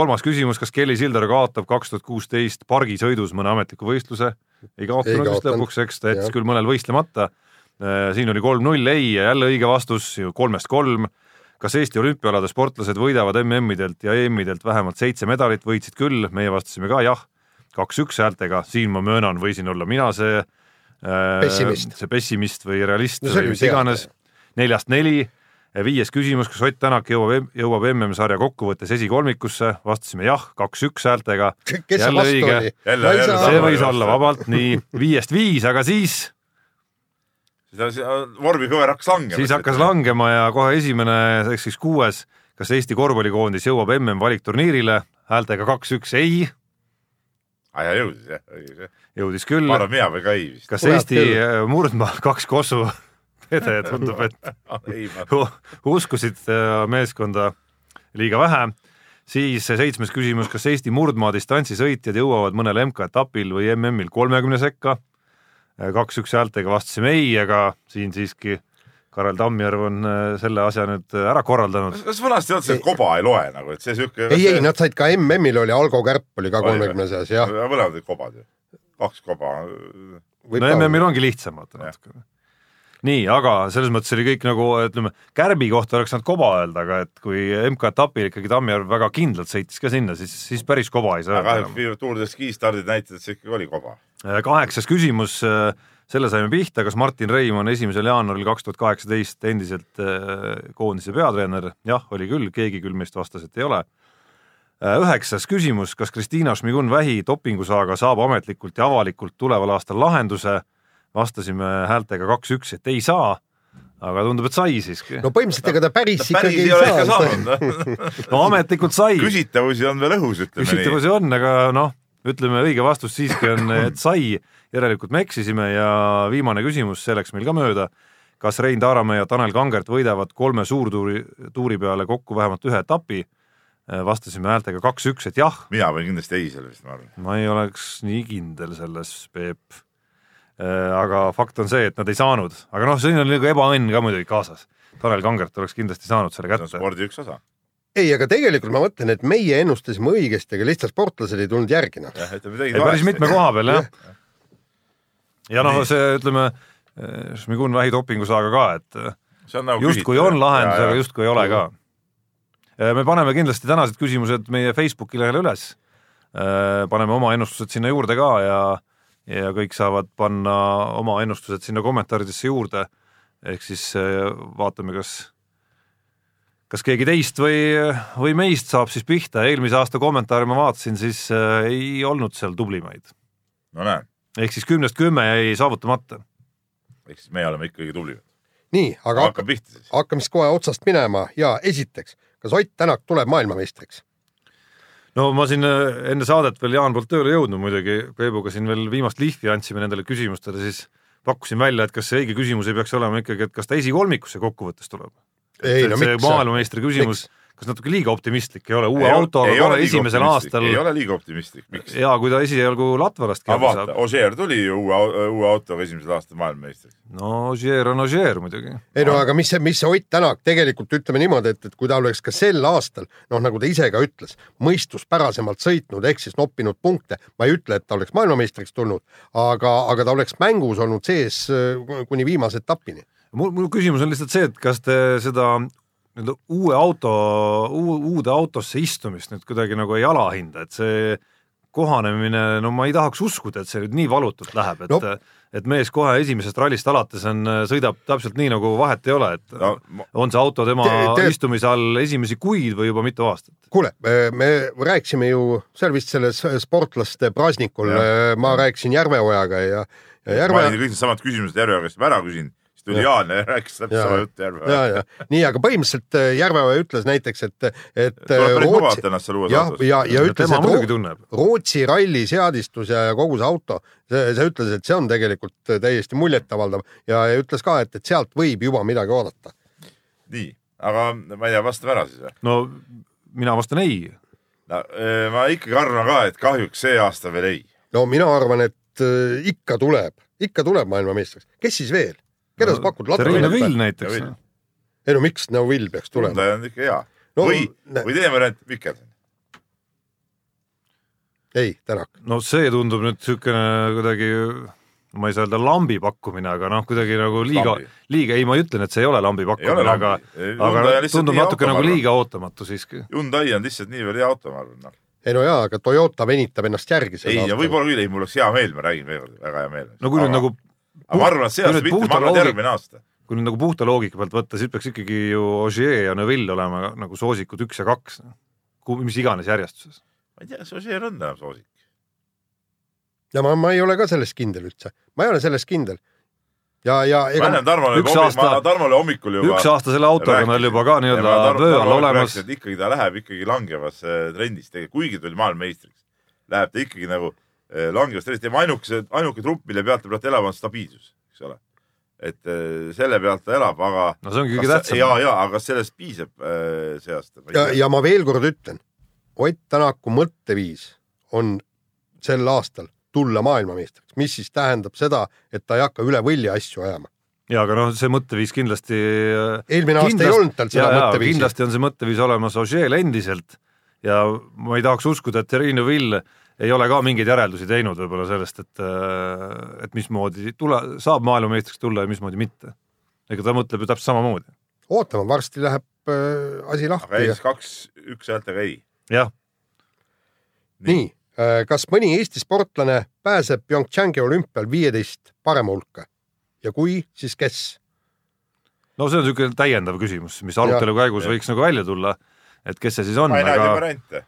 D: kolmas küsimus , kas Kelly Sildaru kaotab kaks tuhat kuusteist pargisõidus mõne ametliku võistluse ? ei
C: Ei
D: kaotanud vist
C: kaotanud.
D: lõpuks , eks ta jättis
C: Jah.
D: küll mõnel võistlemata . siin oli kolm-null ei ja jälle õige vastus , kolmest kolm . kas Eesti olümpiaalade sportlased võidavad MM-idelt ja EM-idelt vähemalt seitse medalit , võitsid küll , meie vastasime ka jah , kaks-üks häältega , siin ma möönan , võisin olla mina see äh,
C: Pessimist.
D: see pessimist või realist
C: No see
D: või
C: oli
D: mis
C: teada.
D: iganes , neljast neli . viies küsimus , kas Ott Tänak jõuab , jõuab MM-sarja kokkuvõttes esikolmikusse , vastasime jah , kaks-üks häältega .
C: kes see vastu oli ?
E: Jälle- jälle
D: see
E: Sama
D: võis
E: ei
D: olla
E: vasta.
D: vabalt nii viiest viis , aga siis ,
E: siis see vormi kõver hakkas langema .
D: siis hakkas . langema ja kohe esimene ehk siis kuues , kas Eesti korvpallikoondis jõuab MM-valikturniirile , häältega kaks-üks ei ,
E: aa jaa , Ah, jõudis jah , õige see .
D: jõudis küll
E: ma . arvan , mina või Kai vist .
D: kas
C: Kurat
D: Eesti
C: küll.
D: murdmaa kaks kosu pede tundub , et
E: ei , ma
D: uskusid äh, meeskonda liiga vähe , siis see seitsmes küsimus , kas Eesti murdmaa distantsi sõitjad jõuavad mõnel MK-etapil või MM-il kolmekümne sekka ? kaks-üks häältega vastasime ei , aga siin siiski Karel Tammjärv on äh, selle asja nüüd ära korraldanud .
E: kas vanasti ei olnud see , et koba ei loe nagu , et see siuke .
C: ei , ei , nad said ka MM-il oli Algo Kärp oli ka
E: Oli või?
C: kolmekümne seas jah .
E: mõlemad olid kobad ju , kaks koba .
D: no MM-il ongi lihtsam vaata natuke . nii , aga selles mõttes oli kõik nagu ütleme , kärbi kohta oleks saanud koba öelda , aga et kui MK-etapil ikkagi Tammjärv väga kindlalt sõitis ka sinna , siis , siis päris koba ei saa öelda enam.
E: kahjuks viivad tuurde skiistardid näitavad , et see ikkagi oli koba .
D: Äh, kaheksas küsimus , selle saime pihta , kas Martin Reim on esimesel jaanuaril kaks tuhat kaheksateist endiselt äh, koondise peatreener ? jah , oli küll , keegi küll meist vastas , et ei ole . üheksas küsimus , kas Kristiina Šmigun-Vähi dopingusaaga saab ametlikult ja avalikult tuleval aastal lahenduse ? vastasime häältega kaks-üks , et ei saa , aga tundub , et sai siiski .
C: no põhimõtteliselt ega ta päris
E: päris
C: ikkagi
E: ei ole ikka
C: ei saa .
E: saanud .
D: no ametlikult sai ,
E: küsitavusi on veel õhus , ütleme nii .
D: küsitavusi on , aga noh , ütleme õige vastus siiski on , et sai , järelikult me eksisime ja viimane küsimus , see läks meil ka mööda . kas Rein Taaramäe ja Tanel Kangert võidavad kolme suurtuuri , tuuri peale kokku vähemalt ühe etapi ? vastasime häältega kaks-üks , et jah ,
E: mina panin kindlasti ei selle vist , ma arvan .
D: ma ei oleks nii kindel selles , Peep . aga fakt on see , et nad ei saanud , aga noh , siin on nagu ebaõnn ka muidugi kaasas . Tanel Kangert oleks kindlasti saanud selle
E: see on
D: kätte .
E: spordi üks osa .
C: ei , aga tegelikult ma mõtlen , et meie ennustasime õigesti , aga lihtsalt sportlased ei tulnud järgi noh .
E: jah , ütleme tegid
D: ei , päris mitme . koha peal jah . ja noh , see ütleme , eh, Šmigun vähi dopingusaaga ka , et eh,
E: see on nagu
D: justkui on lahendus , aga . justkui ei ole ka . me paneme kindlasti tänased küsimused meie Facebooki lehele üles . paneme oma ennustused sinna juurde ka ja , ja kõik saavad panna oma ennustused sinna kommentaaridesse juurde . ehk siis eh, vaatame , kas kas keegi teist või , või meist saab siis pihta , eelmise aasta kommentaare ma vaatasin , siis eh, ei olnud seal tublimaid
E: no näe ,
D: ehk siis kümnest kümme jäi saavutamata .
E: ehk siis meie oleme ikkagi tublimad .
C: nii , aga hakka-
E: hakkab pihta siis .
C: hakkame siis kohe otsast minema ja esiteks , kas Ott Tänak tuleb maailmameistriks ?
D: no ma siin äh, enne saadet veel Jaan poolt tööle jõudnud muidugi , Peebuga siin veel viimast lihvi andsime nendele küsimustele , siis pakkusin välja , et kas see õige küsimus ei peaks olema ikkagi , et kas ta esikolmikusse kokkuvõttes tuleb .
C: ei no
D: see
C: miks ,
D: maailmameistri küsimus , kas natuke liiga optimistlik ei ole , uue
E: Ei ole-
D: autoga
E: ei ole
D: korra
E: liiga
D: esimesel
E: optimistlik,
D: aastal
E: ei ole liiga optimistlik , miks ?
D: ja kui ta esialgu Latvalast
E: aga
D: käima
E: vaata ,
D: saab ,
E: Ožeer tuli ju uue , uue autoga esimesel aastal maailmameistriks .
D: no Ožeer on Ožeer muidugi .
C: ei
E: Ah.
C: no aga mis see , mis see Ott Tänak tegelikult ütleme niimoodi , et , et kui ta oleks ka sel aastal noh , nagu ta ise ka ütles , mõistuspärasemalt sõitnud ehk siis noppinud punkte , ma ei ütle , et ta oleks maailmameistriks tulnud , aga , aga ta oleks mängus olnud sees äh, kuni viimase etapini .
D: mul , mul küsimus on lihtsalt see , et kas te seda nii-öelda uue auto , uude autosse istumist nüüd kuidagi nagu ei alahinda , et see kohanemine , no ma ei tahaks uskuda , et see nüüd nii valutult läheb , et
C: No.
D: et mees kohe esimesest rallist alates on , sõidab täpselt nii , nagu vahet ei ole , et
E: No, ma-
D: on see auto tema
C: Te- te-
D: istumise all esimesi kuid või juba mitu aastat .
C: kuule , me rääkisime ju , see oli vist selles sportlaste praasnikul
E: Jah. ,
C: ma rääkisin Järveojaga ja, ja
E: ma
C: Järve .
E: olin kõik need samad küsimused Järve käest juba ära küsinud , siis tuli Jaan ja rääkis täpselt
C: Jaa.
E: sama juttu Järve .
C: ja , ja nii , aga põhimõtteliselt äh, Järveoja ütles näiteks , et , et .
E: tuleb päris mugavalt ennast seal uues
C: jah ,
E: autos .
C: ja , ja ütles ,
D: tema
C: et
D: muidugi
C: Roo-
D: tunneb .
C: Rootsi ralli seadistus ja ja kogu see auto , see , see ütles , et see on tegelikult äh, täiesti muljetavaldav ja , ja ütles ka , et , et sealt võib juba midagi oodata .
E: nii , aga ma ei tea , vastame ära siis või ?
D: no mina vastan ei .
E: no öö, ma ikkagi arvan ka , et kahjuks see aasta veel ei .
C: no mina arvan , et äh, ikka tuleb , ikka tuleb maailmameistriks , kes siis veel , keda sa pakud ?
D: Rein Vill näiteks
E: Vill. .
C: ei no miks Neuvill peaks tulema ?
E: tundaja on ikka hea
C: No,
E: no, . või ,
C: nä-
E: või teine variant , Mikelson .
C: ei , Tänak .
D: no see tundub nüüd niisugune kuidagi , ma ei saa öelda lambi pakkumine , aga noh , kuidagi nagu liiga
E: Lambi. ,
D: liiga , ei , ma ei ütle , et see ei ole lambi
E: ole
D: pakkumine ,
E: lambi.
D: aga
E: Ei, Hyundai
D: aga
E: on lihtsalt
D: tundub
E: nii
D: natuke
E: auto, ma
D: nagu
E: arvan.
D: liiga ootamatu siiski .
E: Hyundai on lihtsalt niivõrd hea auto , ma arvan no. .
C: ei no jaa , aga Toyota venitab ennast järgi .
E: ei , ja . võib-olla küll , ei , mul oleks hea meel , ma räägin veel kord , väga hea meel .
D: no kui nüüd nagu ,
E: aga ma arvan , et see
D: kui
E: aasta
D: nüüd
E: mitte , ma
D: puhta
E: arvan , et
D: loogik-
E: järgmine aasta .
D: kui nüüd nagu puhta loogika pealt võtta , siis peaks ikkagi ju Ogier ja Neville olema nagu soosikud üks ja kaks , mis iganes järjestuses .
E: ma ei tea , kas Ožeer on enam soosik .
C: ja ma , ma ei ole ka selles kindel üldse , ma ei ole selles kindel . ja , ja
E: ma
C: ega
E: annan Tarmole
D: üks
E: juba
D: aasta-
E: aasta... , ma Tarmole hommikul juba .
D: üks aasta selle autoga on veel juba ka nii-öelda vöö all olemas .
E: ikkagi ta läheb ikkagi langevas äh, trendis tegelikult , kuigi tuli maailmameistriks , läheb ta ikkagi nagu äh, langevas trendis , tema ainukese , ainuke trupp , mille pealt ta peab elama , on stabiilsus , eks ole . et äh, selle pealt ta elab , aga .
D: no see ongi kõige tähtsam
E: ja ,. ja , aga kas sellest piisab äh, see aasta ?
C: ja , ja ma veel kord ütlen , Ott Tänaku mõtteviis on sel aastal tulla maailmameistriks , mis siis tähendab seda , et ta ei hakka üle võlli asju ajama .
D: ja aga noh , see mõtteviis kindlasti . äh,
C: Eelmine aasta ei olnud tal seda mõtteviisi.
D: kindlasti on see mõtteviis olemas Ožeel endiselt ja ma ei tahaks uskuda , et Terino Vill ei ole ka mingeid järeldusi teinud võib-olla sellest , et äh, et mismoodi tule , saab maailmameistriks tulla ja mismoodi mitte . ega ta mõtleb ju täpselt samamoodi .
C: ootame , varsti läheb äh, asi
E: aga
C: lahti ja
E: Eestis kaks , üks häältega ei .
D: jah ,
C: nii äh, , kas mõni Eesti sportlane pääseb Pyeongchangi olümpial viieteist parema hulka ja kui , siis kes ?
D: no see on niisugune täiendav küsimus , mis arutelu käigus
E: jah.
D: võiks nagu välja tulla , et kes see siis on ,
E: ma ei näe siin
D: aga
E: variante .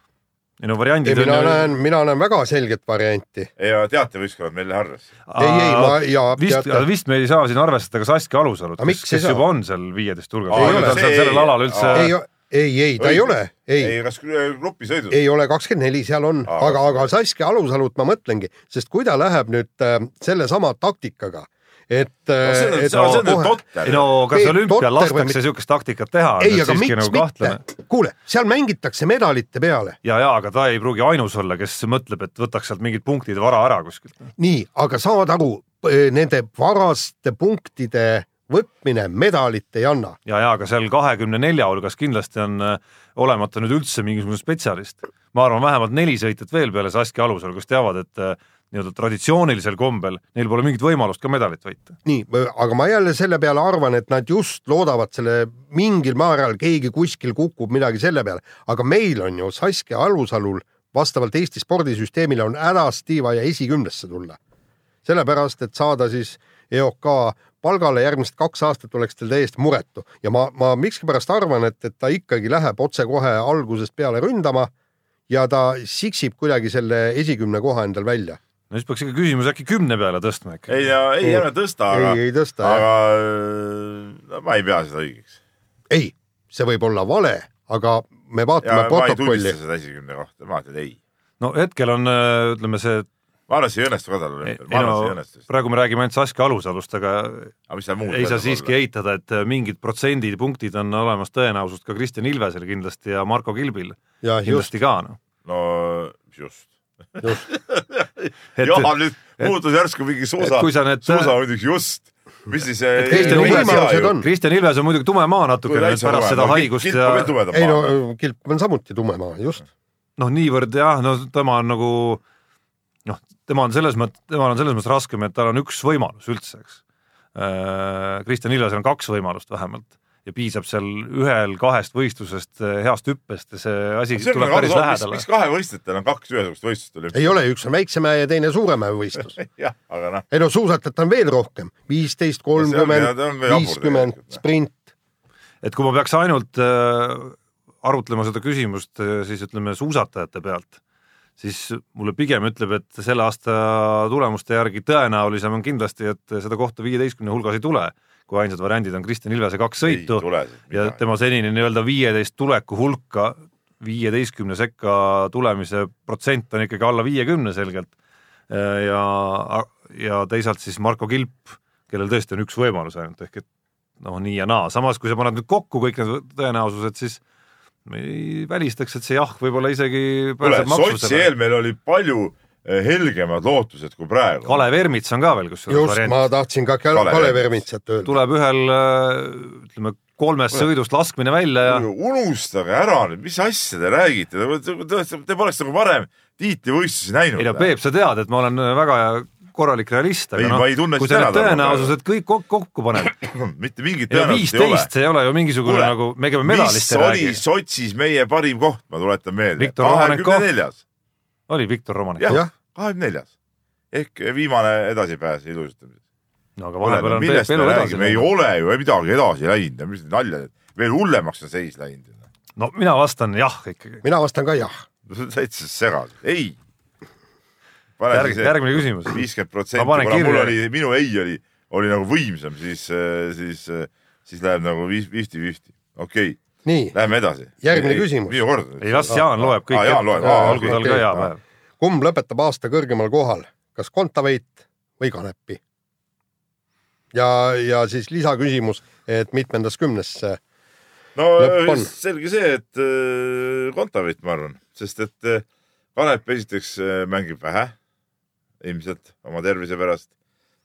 D: ei no variandid
C: mina
D: on ju
C: näen , mina näen väga selget varianti .
E: ja teatevõistkonnad meil harras .
C: ei , ei , ma ja
D: vist , vist me ei saa siin arvestada ka Saskia Alusalut ,
C: Aga
D: kes,
C: miks ei
D: kes
C: saa?
D: juba on seal viieteist hulgas ,
E: Ei
D: ei ole
E: ole,
D: tal
E: see
D: seal sellel
E: ei-
D: alal
C: ei
D: üldse ,,
C: ei , ei , ta ei ole , ei
E: ei , kas äh, grupisõidus ?
C: ei ole kakskümmend neli , seal on ,
E: Aa,
C: aga , aga Saskia Alusalut ma mõtlengi , sest kui ta läheb nüüd äh, sellesama taktikaga , et
E: no, . see on
C: äh,
E: nüüd ,
C: et
E: see on see on nüüd
C: kohe-
E: totter
D: ei . no kas
C: Peep Totter
D: olümpial
C: või
D: lastakse
C: mitte-
D: niisugust taktikat teha , on
C: ei ,
D: nüüd
C: aga
D: siiski
C: miks
D: nagu
C: mitte
D: kahtlane .,
C: kuule , seal mängitakse medalite peale ,
D: ja , ja aga ta ei pruugi ainus olla , kes mõtleb , et võtaks sealt mingid punktid vara ära kuskilt .
C: nii , aga saad aru , nende varaste punktide võtmine medalit ei anna .
D: ja , ja aga seal kahekümne nelja hulgas kindlasti on äh, olemata nüüd üldse mingisugune spetsialist . ma arvan , vähemalt neli sõitjat veel peale Saskia Alusalu , kes teavad , et äh, nii-öelda traditsioonilisel kombel neil pole mingit võimalust ka medalit võita .
C: nii , aga ma jälle selle peale arvan , et nad just loodavad selle mingil määral , keegi kuskil kukub midagi selle peale , aga meil on ju Saskia Alusalul vastavalt Eesti spordisüsteemile on hädas tiiva ja esikümnesse tulla . sellepärast , et saada siis EOK palgale järgmised kaks aastat oleks tal täiesti muretu ja ma , ma miskipärast arvan , et , et ta ikkagi läheb otsekohe algusest peale ründama ja ta siksib kuidagi selle esikümne koha endal välja .
D: no siis peaks ikka küsimus äkki kümne peale tõstma ikka .
E: ei , ei ärme tõsta , aga ,
C: ei , ei tõsta .
E: aga äh, no, ma ei pea seda õigeks .
C: ei , see võib olla vale , aga me
E: ja
C: vaatame
E: ma ei
C: protokolli
E: tunnista . seda esikümne kohta , ma ütlen ei .
D: no hetkel on , äh, ütleme see
E: ma arvan , et see ei õnnestu ka tal
D: ei
E: olümpial , ma arvan , et see ei
D: no
E: õnnestu .
D: praegu me räägime ainult Saskia alusalust , aga
E: aga mis seal muud
D: ei saa siiski eitada , et äh, mingid protsendid , punktid on olemas tõenäosust ka Kristjan Ilvesel kindlasti ja Marko Kilbil
C: ja Ah, just ,
D: kindlasti ka noh .
E: no just .
D: et
E: jah , nüüd muutus järsku mingi suusa ,
D: kui sa need-
E: suusa muidugi just , mis siis .
C: teistel võimalused on .
D: Kristjan Ilves on muidugi tume maa natukene nüüd pärast seda haigust ja
C: ei no äh, kilp on samuti tume maa , just .
D: noh , niivõrd jah , no tema on nagu noh , tema on selles mõttes , temal on selles mõttes raskem , et tal on üks võimalus üldse , eks . Kristjan Ilvesel on kaks võimalust vähemalt ja piisab seal ühel-kahest võistlusest äh, heast hüppest ja see asi
E: see on
D: tuleb
E: nagu
D: päris
E: arusaadav ,
D: lähedale
E: miks . kahevõistlejatel on kaks ühesugust võistlust
C: ei
E: olümpial .
C: ole , üks on väiksema ja teine suurema võistlus .
E: jah , aga noh ,
C: ei no suusatajat on veel rohkem , viisteist ,
E: on-
C: kolmkümmend
E: ta on , veel jabur
C: viiskümmend ,
E: tegelikult.
C: sprint .
D: et kui ma peaks ainult äh, arutlema seda küsimust , siis ütleme suusatajate pealt , siis mulle pigem ütleb , et selle aasta tulemuste järgi tõenäolisem on kindlasti , et seda kohta viieteistkümne hulgas ei tule , kui ainsad variandid on Kristjan Ilvese kaks
E: Ei
D: sõitu
E: tule sealt
D: ja
E: midagi.
D: tema senine nii-öelda viieteist tuleku hulka , viieteistkümne sekka tulemise protsent on ikkagi alla viiekümne selgelt . ja , ja teisalt siis Marko Kilp , kellel tõesti on üks võimalus ainult ehk et noh , nii ja naa , samas kui sa paned nüüd kokku kõik need tõenäosused , siis ma ei välistaks , et see jah , võib-olla isegi
E: kuule
D: pääseb ,
E: Sotši
D: maksusele .
E: eel meil oli palju eh, helgemad lootused kui praegu .
D: Kalev Ermits on ka veel kusjuures
C: just ,
D: variant ,
C: ma tahtsin ka Kalev
E: Kalev
C: Kalev
E: Ermits.
C: Ermitsat öelda .
D: tuleb ühel äh, ütleme kolmest sõidust laskmine välja ja
E: Kuulge, unustage ära nüüd , mis asja te räägite , te poleks nagu varem tiitlivõistlusi näinud .
D: ei no Peep , sa tead , et ma olen äh, väga korralik realist ,
E: Ei,
D: aga
E: ma ei tunne
D: noh , kui
E: sind
D: sa
E: ära
D: need
E: täna
D: tõenäosused kõik kok- kokku paned ,
E: mitte mingit
D: ei no
E: tõenäosust ei ole .
D: viisteist , see ei ole ju mingisugune
E: Kuule,
D: nagu , me käime
E: mis
D: medalist ei
E: oli
D: räägi .
E: Sotšis meie parim koht , ma tuletan meelde .
D: Viktor Romanenkov.
E: kahekümne neljas ,
D: oli Viktor Romanek ,
E: jah
C: Jah. ,
E: kahekümne neljas ehk viimane edasipääs ilusustamises .
D: no aga
E: Kuule,
D: vahepeal
E: no
D: on
E: millest
D: Peep
E: me
D: elu edasi
E: räägime , ei
D: läinud .
E: ole ju midagi edasi läinud , mis need naljad , veel hullemaks on seis läinud .
D: no mina vastan jah ikkagi .
C: mina vastan ka jah .
E: täitsa segased , ei .
D: järg , järgmine küsimus .
E: viiskümmend protsenti ,
D: Ma panen
E: kuna mul
D: kirja.
E: oli , minu ei oli , oli nagu võimsam , siis , siis , siis läheb nagu fifty-fifty , okei okay, ,
C: nii ,
E: lähme edasi .
C: Järgmine küsimus.
E: minu kord .
D: ei las Jaan loeb kõik
E: Aa, Ah, Jaan loeb. Ah,
D: ette ,
E: Aa,
D: olgu tal
C: okei,
D: ka hea
C: okei.
D: päev .
C: kumb lõpetab aasta kõrgemal kohal , kas Kontaveit või Kanepi ? ja , ja siis lisaküsimus , et mitmendas kümnesse ,
E: no äh,
C: lõpp on.
E: selge see , et äh, Kontaveit , ma arvan , sest et äh, Kanep esiteks äh, mängib vähe ilmselt oma tervise pärast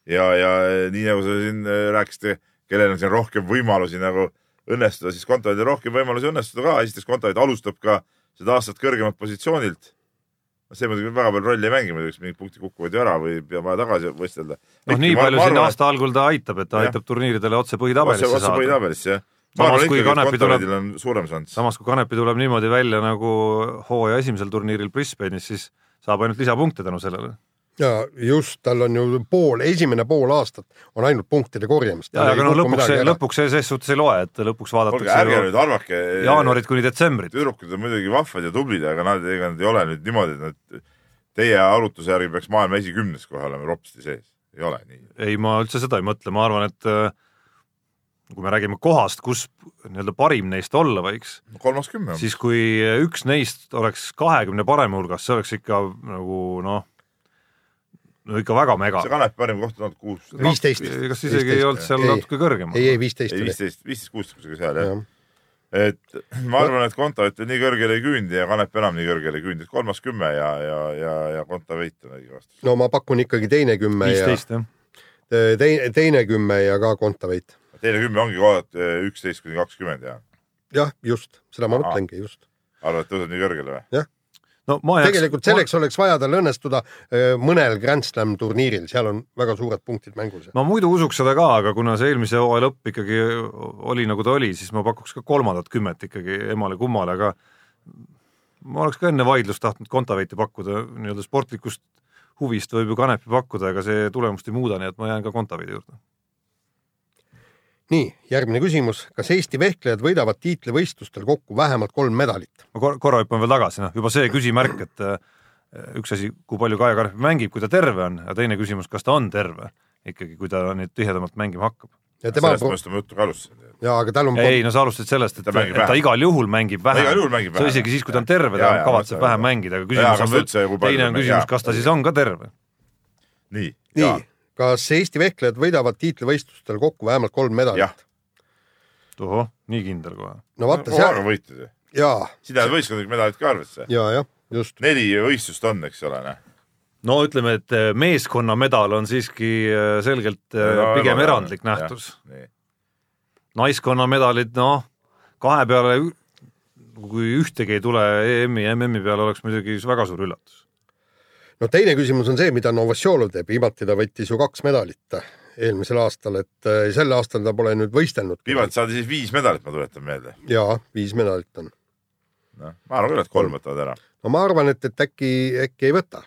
E: ja , ja äh, nii nagu sa siin äh, rääkisid , kellel on siin rohkem võimalusi nagu õnnestuda , siis Kontaveidil rohkem võimalusi õnnestuda ka , esiteks Kontaveit alustab ka seda aastat kõrgemalt positsioonilt . see muidugi väga palju rolli ei mängi , muidugi kas mingid punktid kukuvad ju ära või peab vaja tagasi võistelda .
D: noh , nii palju siin . aasta algul ta aitab , et ta
E: Jah.
D: aitab turniiridele otse
E: otse ,
D: põhitabelisse
E: otse
D: saada .
E: põhitabelisse jah . ma
D: Samas
E: arvan
D: kui
E: ikkagi , et
D: Kanepi tuleb-
E: Kontaveidil on suurem šanss .
D: samas kui Kanepi tuleb niimoodi välja nagu hooaja esimesel turniiril Brisbane'is , siis saab ainult lisapunkte tänu sellele .
C: ja just , tal on ju pool , esimene pool aastat on ainult punktide korjamist .
D: jaa , aga no lõpuks , lõpuks see ses suhtes ei loe , et lõpuks
E: olge , ärge
D: vaadatakse
E: nüüd arvake .
D: ju jaanuarit kuni detsembrit .
E: tüdrukud on muidugi vahvad ja tublid , aga nad , ega nad ei ole nüüd niimoodi , et nad teie arutuse järgi peaks maailma esikümnes kohe olema ropsti sees . ei ole nii .
D: ei , ma üldse seda ei mõtle , ma arvan , et äh, kui me räägime kohast , kus nii-öelda parim neist olla võiks ,
E: kolmas kümme on .
D: siis kui üks neist oleks kahekümne parema hulgas , see oleks ikka nagu noh , no ikka väga mega
E: see . Kanepi parim koht on olnud kuus ,
C: viisteist .
D: kas isegi ei olnud seal
C: Ei.
D: natuke kõrgem ?
C: ei , ei viisteist
E: ei
C: oli .
E: viisteist , viisteist , kuusteist kusagil seal jah .
C: jah ,
E: et ma arvan , et Kontaveit on nii kõrgele ei küündi ja Kanep enam nii kõrgele ei küündi , et kolmas kümme ja , ja , ja , ja Kontaveit on õige vastus .
C: no ma pakun ikkagi teine kümme ja
D: viisteist jah .
C: teine , teine kümme ja ka Kontaveit .
E: teine kümme ongi kohad eh, üksteist kuni kakskümmend ja
C: jah , just , seda ma
E: Aa.
C: mõtlengi just .
E: arvad , et tõuseb nii kõrgele või ?
D: no ma jääks ,
C: tegelikult selleks oleks vaja tal õnnestuda öö, mõnel Grand Slam turniiril , seal on väga suured punktid mängus .
D: ma muidu usuks seda ka , aga kuna see eelmise hooaja lõpp ikkagi oli nagu ta oli , siis ma pakuks ka kolmandat kümmet ikkagi emale-kummale , aga ma oleks ka enne vaidlust tahtnud Kontaveiti pakkuda nii-öelda sportlikust huvist võib ju Kanepi pakkuda , aga see tulemust ei muuda , nii et ma jään ka Kontaveidi juurde .
C: nii , järgmine küsimus . kas Eesti vehklejad võidavad tiitlivõistlustel kokku vähemalt kolm medalit ?
D: ma kor- korra hüppan veel tagasi , noh juba see küsimärk , et äh, üks asi , kui palju Kaia Kanepi mängib , kui ta terve on , ja teine küsimus , kas ta on terve ikkagi , kui ta nüüd tihedamalt mängima hakkab .
C: ja tema
E: sellest
C: pro-
E: ma , just oma juttu ka alustasin .
C: ja aga tal on pro-
D: ei no sa alustasid sellest , et
E: Ta
D: ta,
E: mängib
D: et ta
E: vähem.
D: igal juhul mängib vähem .
E: igal juhul mängib
D: sa
E: vähem,
D: isegi
E: jah.
D: siis , kui ta on terve ,
E: Jaa,
D: ta
E: jaa,
D: kavatseb
E: mõtlen,
D: vähem
E: jah.
D: mängida , aga
E: Jaa,
D: küsimus
E: kas
D: on
E: ta üldse kui
D: veel ,
E: palju
D: teine
E: ta
D: on
E: mängib,
D: küsimus
E: jaa. ,
D: kas ta siis on ka terve .
E: nii,
C: nii
E: ja ,
C: kas Eesti vehklejad võidavad tiitlivõistlustel kokku vähemalt kolm
E: jah
C: medalit ?,
D: tohoh , nii kindel kohe .
C: no vaata
E: kogu aeg
C: seal ,
E: on võitnud ju .
C: jaa ,
E: sina oled võistkondlik medalit ka arvesse .
C: ja , jah , just .
E: neli võistlust on , eks ole , noh .
D: no ütleme , et meeskonna medal on siiski äh, selgelt äh,
E: No,
D: pigem
E: no,
D: erandlik
E: jah.
D: nähtus .
E: nii ,
D: naiskonna medalid , noh , kahe peale , kui ühtegi ei tule EM-i ja MM-i peale , oleks muidugi väga suur üllatus .
C: no teine küsimus on see , mida Novosjolov teeb , viimati ta võttis ju kaks medalit eelmisel aastal , et äh, sel aastal ta pole nüüd võistelnud .
E: viimati saadi siis viis medalit , ma tuletan meelde .
C: jaa , viis medalit on .
E: noh , ma arvan küll , et kolm võtavad ära .
C: no ma arvan , et , et äkki , äkki ei võta .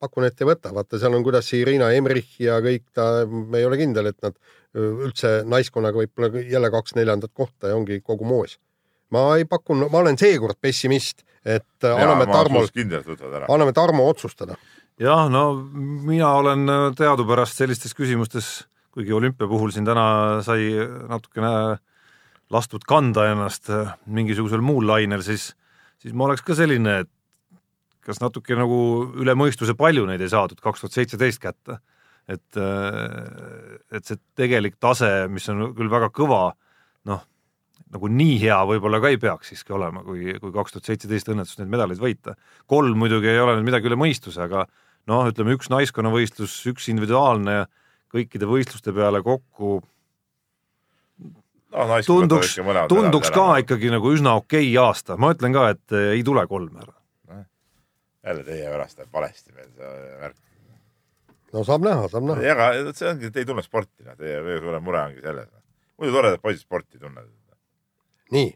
C: pakun , et ei võta , vaata seal on kuidas Irina Emrich ja kõik ta , ma ei ole kindel , et nad öö, üldse naiskonnaga võib-olla jälle kaks neljandat kohta ja ongi kogu moos . ma ei pakun , ma olen seekord pessimist , et äh, anname Tarmol ,
E: kindlalt võtavad ära .
C: anname Tarmo otsustada .
D: jah , no mina olen äh, teadupärast sellistes küsimustes , kuigi olümpia puhul siin täna sai natukene lastud kanda ennast äh, mingisugusel muul lainel , siis , siis ma oleks ka selline , et kas natuke nagu üle mõistuse palju neid ei saadud kaks tuhat seitseteist kätte . et , et see tegelik tase , mis on küll väga kõva , noh , nagu nii hea võib-olla ka ei peaks siiski olema , kui , kui kaks tuhat seitseteist õnnetus neid medaleid võita . kolm muidugi ei ole nüüd midagi üle mõistuse , aga noh , ütleme üks naiskonnavõistlus , üks individuaalne ja kõikide võistluste peale kokku
E: no naised võtavad
D: tunduks
E: ikka mõlemad ,
D: tunduks
E: medalid
D: ka
E: ära.
D: ikkagi nagu üsna okei aasta , ma ütlen ka , et eh, ei tule kolme ära .
E: jälle teie pärast läheb valesti meil see värk .
C: no saab näha , saab näha .
E: ei , aga see ongi , et ei tunne sporti , noh , teie kõige suurem mure ongi selles . muidu toredad poisid sporti ei tunne .
C: nii ,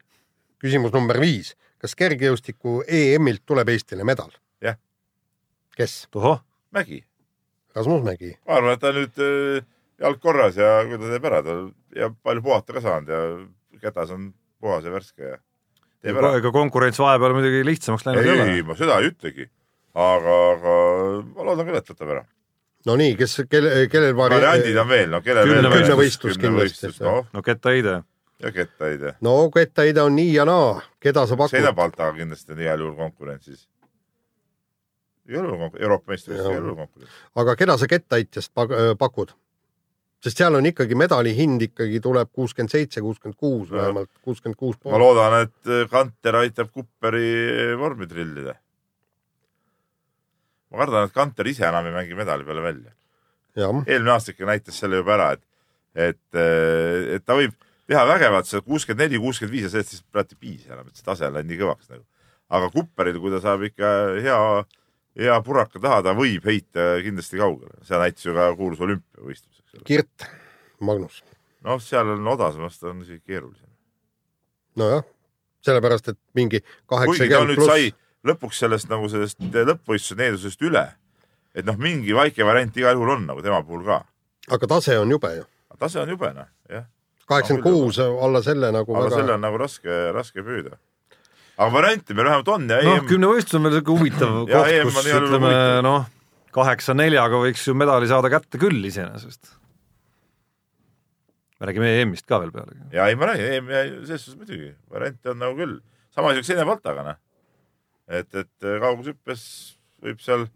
C: küsimus number viis . kas kergejõustiku EM-ilt tuleb Eestile medal ?
E: Jah. .
C: kes ?
D: tohoh ,
E: Mägi ,
C: Rasmus Mägi .
E: ma arvan , et ta nüüd äh, jalg korras ja kui ta teeb ära , ta ja palju puhata ka saanud ja kätas on puhas ja värske ja teeb ära .
D: ega konkurents vahepeal muidugi lihtsamaks läinud ei ole
E: ei ,. ma seda ei ütlegi , aga , aga ma loodan küll , et võtab ära .
C: no nii , kes , kelle , kellel vari-
E: variandid on veel , no kellel
D: Kümne-
E: veel .
C: kümnevõistlus kindlasti, jah.
E: noh ,
D: no kettaheide ,
E: ja kettaheide .
C: no kettaheide on nii ja naa , keda sa pakud ?
E: Seina Baltaga kindlasti on igal juhul konkurentsis . ei ole konkurents , Euroopa meistrivõistlus ei
C: Jah.
E: ole konkurents .
C: aga keda sa kettaheitjast pak- äh, pakud ? sest seal on ikkagi medali hind ikkagi tuleb kuuskümmend seitse , kuuskümmend kuus
E: Jah.
C: vähemalt , kuuskümmend kuus
E: ma
C: pool .
E: loodan , et eh, Kanter aitab Kupperi eh, vormi trillida . ma kardan , et Kanter ise enam ei mängi medali peale välja .
C: jah ,
E: eelmine aasta ikka näitas selle juba ära , et , et , et ta võib teha vägevat , see kuuskümmend neli , kuuskümmend viis ja sellest siis praegu ei piisa enam , et see tase on läinud nii kõvaks nagu . aga Kupperil , kui ta saab ikka hea , hea puraka taha , ta võib heita kindlasti kaugele , see näitas ju ka kuulus olümpiavõistlus , eks ole .
C: Kirt , Magnus ,
E: noh , seal on odasemast on isegi keerulisem .
C: nojah , sellepärast et mingi
E: kuigi ta
C: kaheksakümmend
E: nüüd sai
C: pluss ,
E: lõpuks sellest nagu sellest lõppvõistluse needusest üle . et noh , mingi väike variant igal juhul on nagu tema puhul ka .
C: aga tase on jube ju .
E: tase on jube noh , jah .
C: kaheksakümmend kuus alla selle nagu
E: aga selle
C: väga ,
E: on nagu raske , raske püüda . aga variante meil vähemalt on ja
D: noh
E: EM ,
D: kümnevõistlus on veel siuke huvitav
E: Jah,
D: koht ,
E: EM on
D: kus
E: igal juhul
D: ütleme
E: huvitav.
D: noh , kaheksa-neljaga võiks ju medali saada kätte küll iseenesest . me räägime EM-ist ka veel pealegi .
E: ja ei ma räägin , EM ja selles suhtes muidugi variante on nagu küll . sama asi oleks Ene Baltaga noh . et , et kaugushüppes võib seal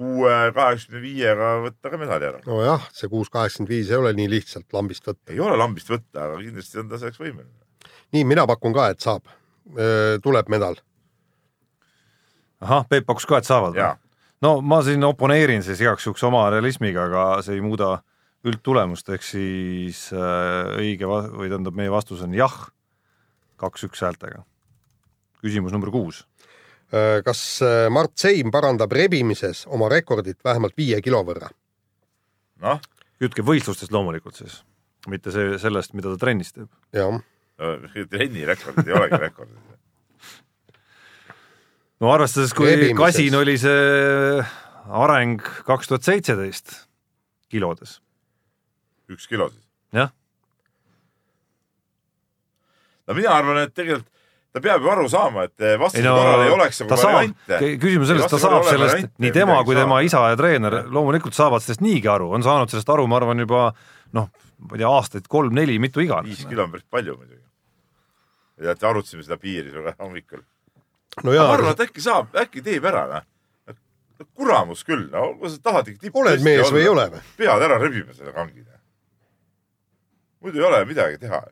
E: kuue , kaheksakümne viiega võtta ka medali ära .
C: nojah , see kuus kaheksakümmend viis ei ole nii lihtsalt lambist võtta .
E: ei ole lambist võtta , aga kindlasti on ta selleks võimeline .
C: nii , mina pakun ka , et saab , tuleb medal .
D: ahah , Peep pakkus ka , et saavad
E: jaa .
D: no ma siin oponeerin siis igaks juhuks oma realismiga , aga see ei muuda üldtulemust , ehk siis äh, õige va- või tähendab , meie vastus on jah , kaks-üks häältega . küsimus number kuus .
C: kas äh, Mart Seim parandab rebimises oma rekordit vähemalt viie kilo võrra ?
E: noh ,
D: jutt käib võistlustest loomulikult siis , mitte see , sellest , mida ta trennis teeb .
C: jah ,
E: trenni rekordid ei olegi rekordid .
D: no arvestades , kui
C: Rebimises.
D: kasin oli see areng kaks tuhat seitseteist kilodes ,
E: üks kilo siis .
D: jah ,
E: no mina arvan , et tegelikult ta peab ju aru saama , et vastasel
D: ei no
E: korral ei oleks
D: ta
E: nagu
D: saab
E: variante .,
D: küsimus on selles , ta
E: Ei, vastasel
D: saab
E: korral
D: sellest ,
E: variante
D: nii
E: ei
D: tema
E: midagi
D: kui
E: saa.
D: tema isa ja treener loomulikult saavad sellest niigi aru , on saanud sellest aru , ma arvan , juba noh , ma ei tea , aastaid kolm-neli , mitu iganes
E: viis . kilo on päris palju muidugi . ja te arutasime seda piiri seal hommikul .
C: no
E: ma
C: jaa ,
E: arvan , et äkki saab , äkki teeb ära , noh . no kuramus küll , no kui sa tahad ikka tipp .
C: oled mees või ei ole või ?
E: pead ära rebima selle kangina . muidu ei ole midagi teha .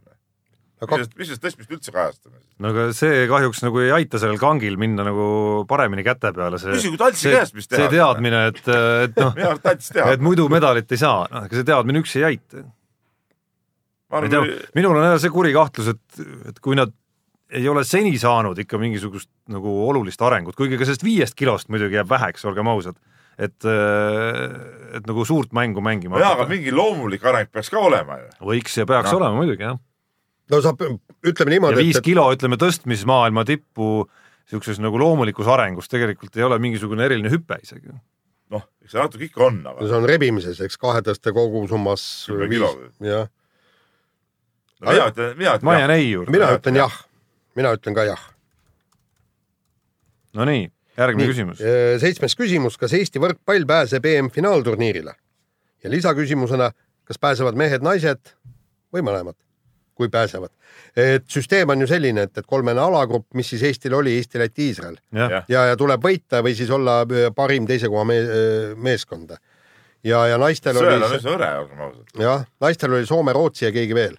C: aga
E: mis sellest tõstmist üldse kajastame siis ?
D: no aga see kahjuks nagu ei aita sellel kangil minna nagu paremini käte peale , see
E: Küsi, kui Taltsi
D: see,
E: käest, mis
D: see
E: tehakse.
D: teadmine , et , et noh ,
E: mina arvan , et tants teab
D: et . muidu medalit ei saa , noh , aga see teadmine üksi ei aita .
E: ma
D: ma ei tea
E: arvan ,
D: minul on jälle see kuri kahtlus , et , et kui nad ei ole seni saanud ikka mingisugust nagu olulist arengut , kuigi ka sellest viiest kilost muidugi jääb väheks , olgem ausad , et , et nagu suurt mängu mängima
E: jaa , aga mingi loomulik areng peaks ka olema ju .
D: võiks ja peaks
E: Noh.
D: no. olema muidugi jah .
C: no saab , ütleme
D: ja
C: niimoodi ,
D: viis
C: et ,
D: kilo , ütleme tõstmismaailma tippu niisuguses nagu loomulikus arengus tegelikult ei ole mingisugune eriline hüpe isegi .
E: noh , eks see natuke ikka on ,
C: et no
E: aga
C: see on rebimises , eks kahe tõste kogusummas
E: Kümme kilo
C: viis
E: või? ,
C: jah .
E: no, mina ütlen , mina
D: ma
E: ütlen
D: jään . ei juurde .
C: mina ütlen jah , mina ütlen ka jah .
D: no nii , järgmine küsimus .
C: Äh, seitsmes küsimus , kas Eesti võrkpall pääseb EM-finaalturniirile ? ja lisaküsimusena , kas pääsevad mehed-naised või mõlemad , kui pääsevad ? et süsteem on ju selline , et , et kolmene alagrupp , mis siis Eestil oli , Eesti , Läti , Iisrael
D: jah ,
E: jah.
C: ja , ja tuleb võita või siis olla öö, parim teise koha me äh, meeskonda . ja , ja naistel
E: sõel on
C: oli ,
E: üsna hõre , olgem ausad .
C: jah , naistel oli Soome , Rootsi ja keegi veel .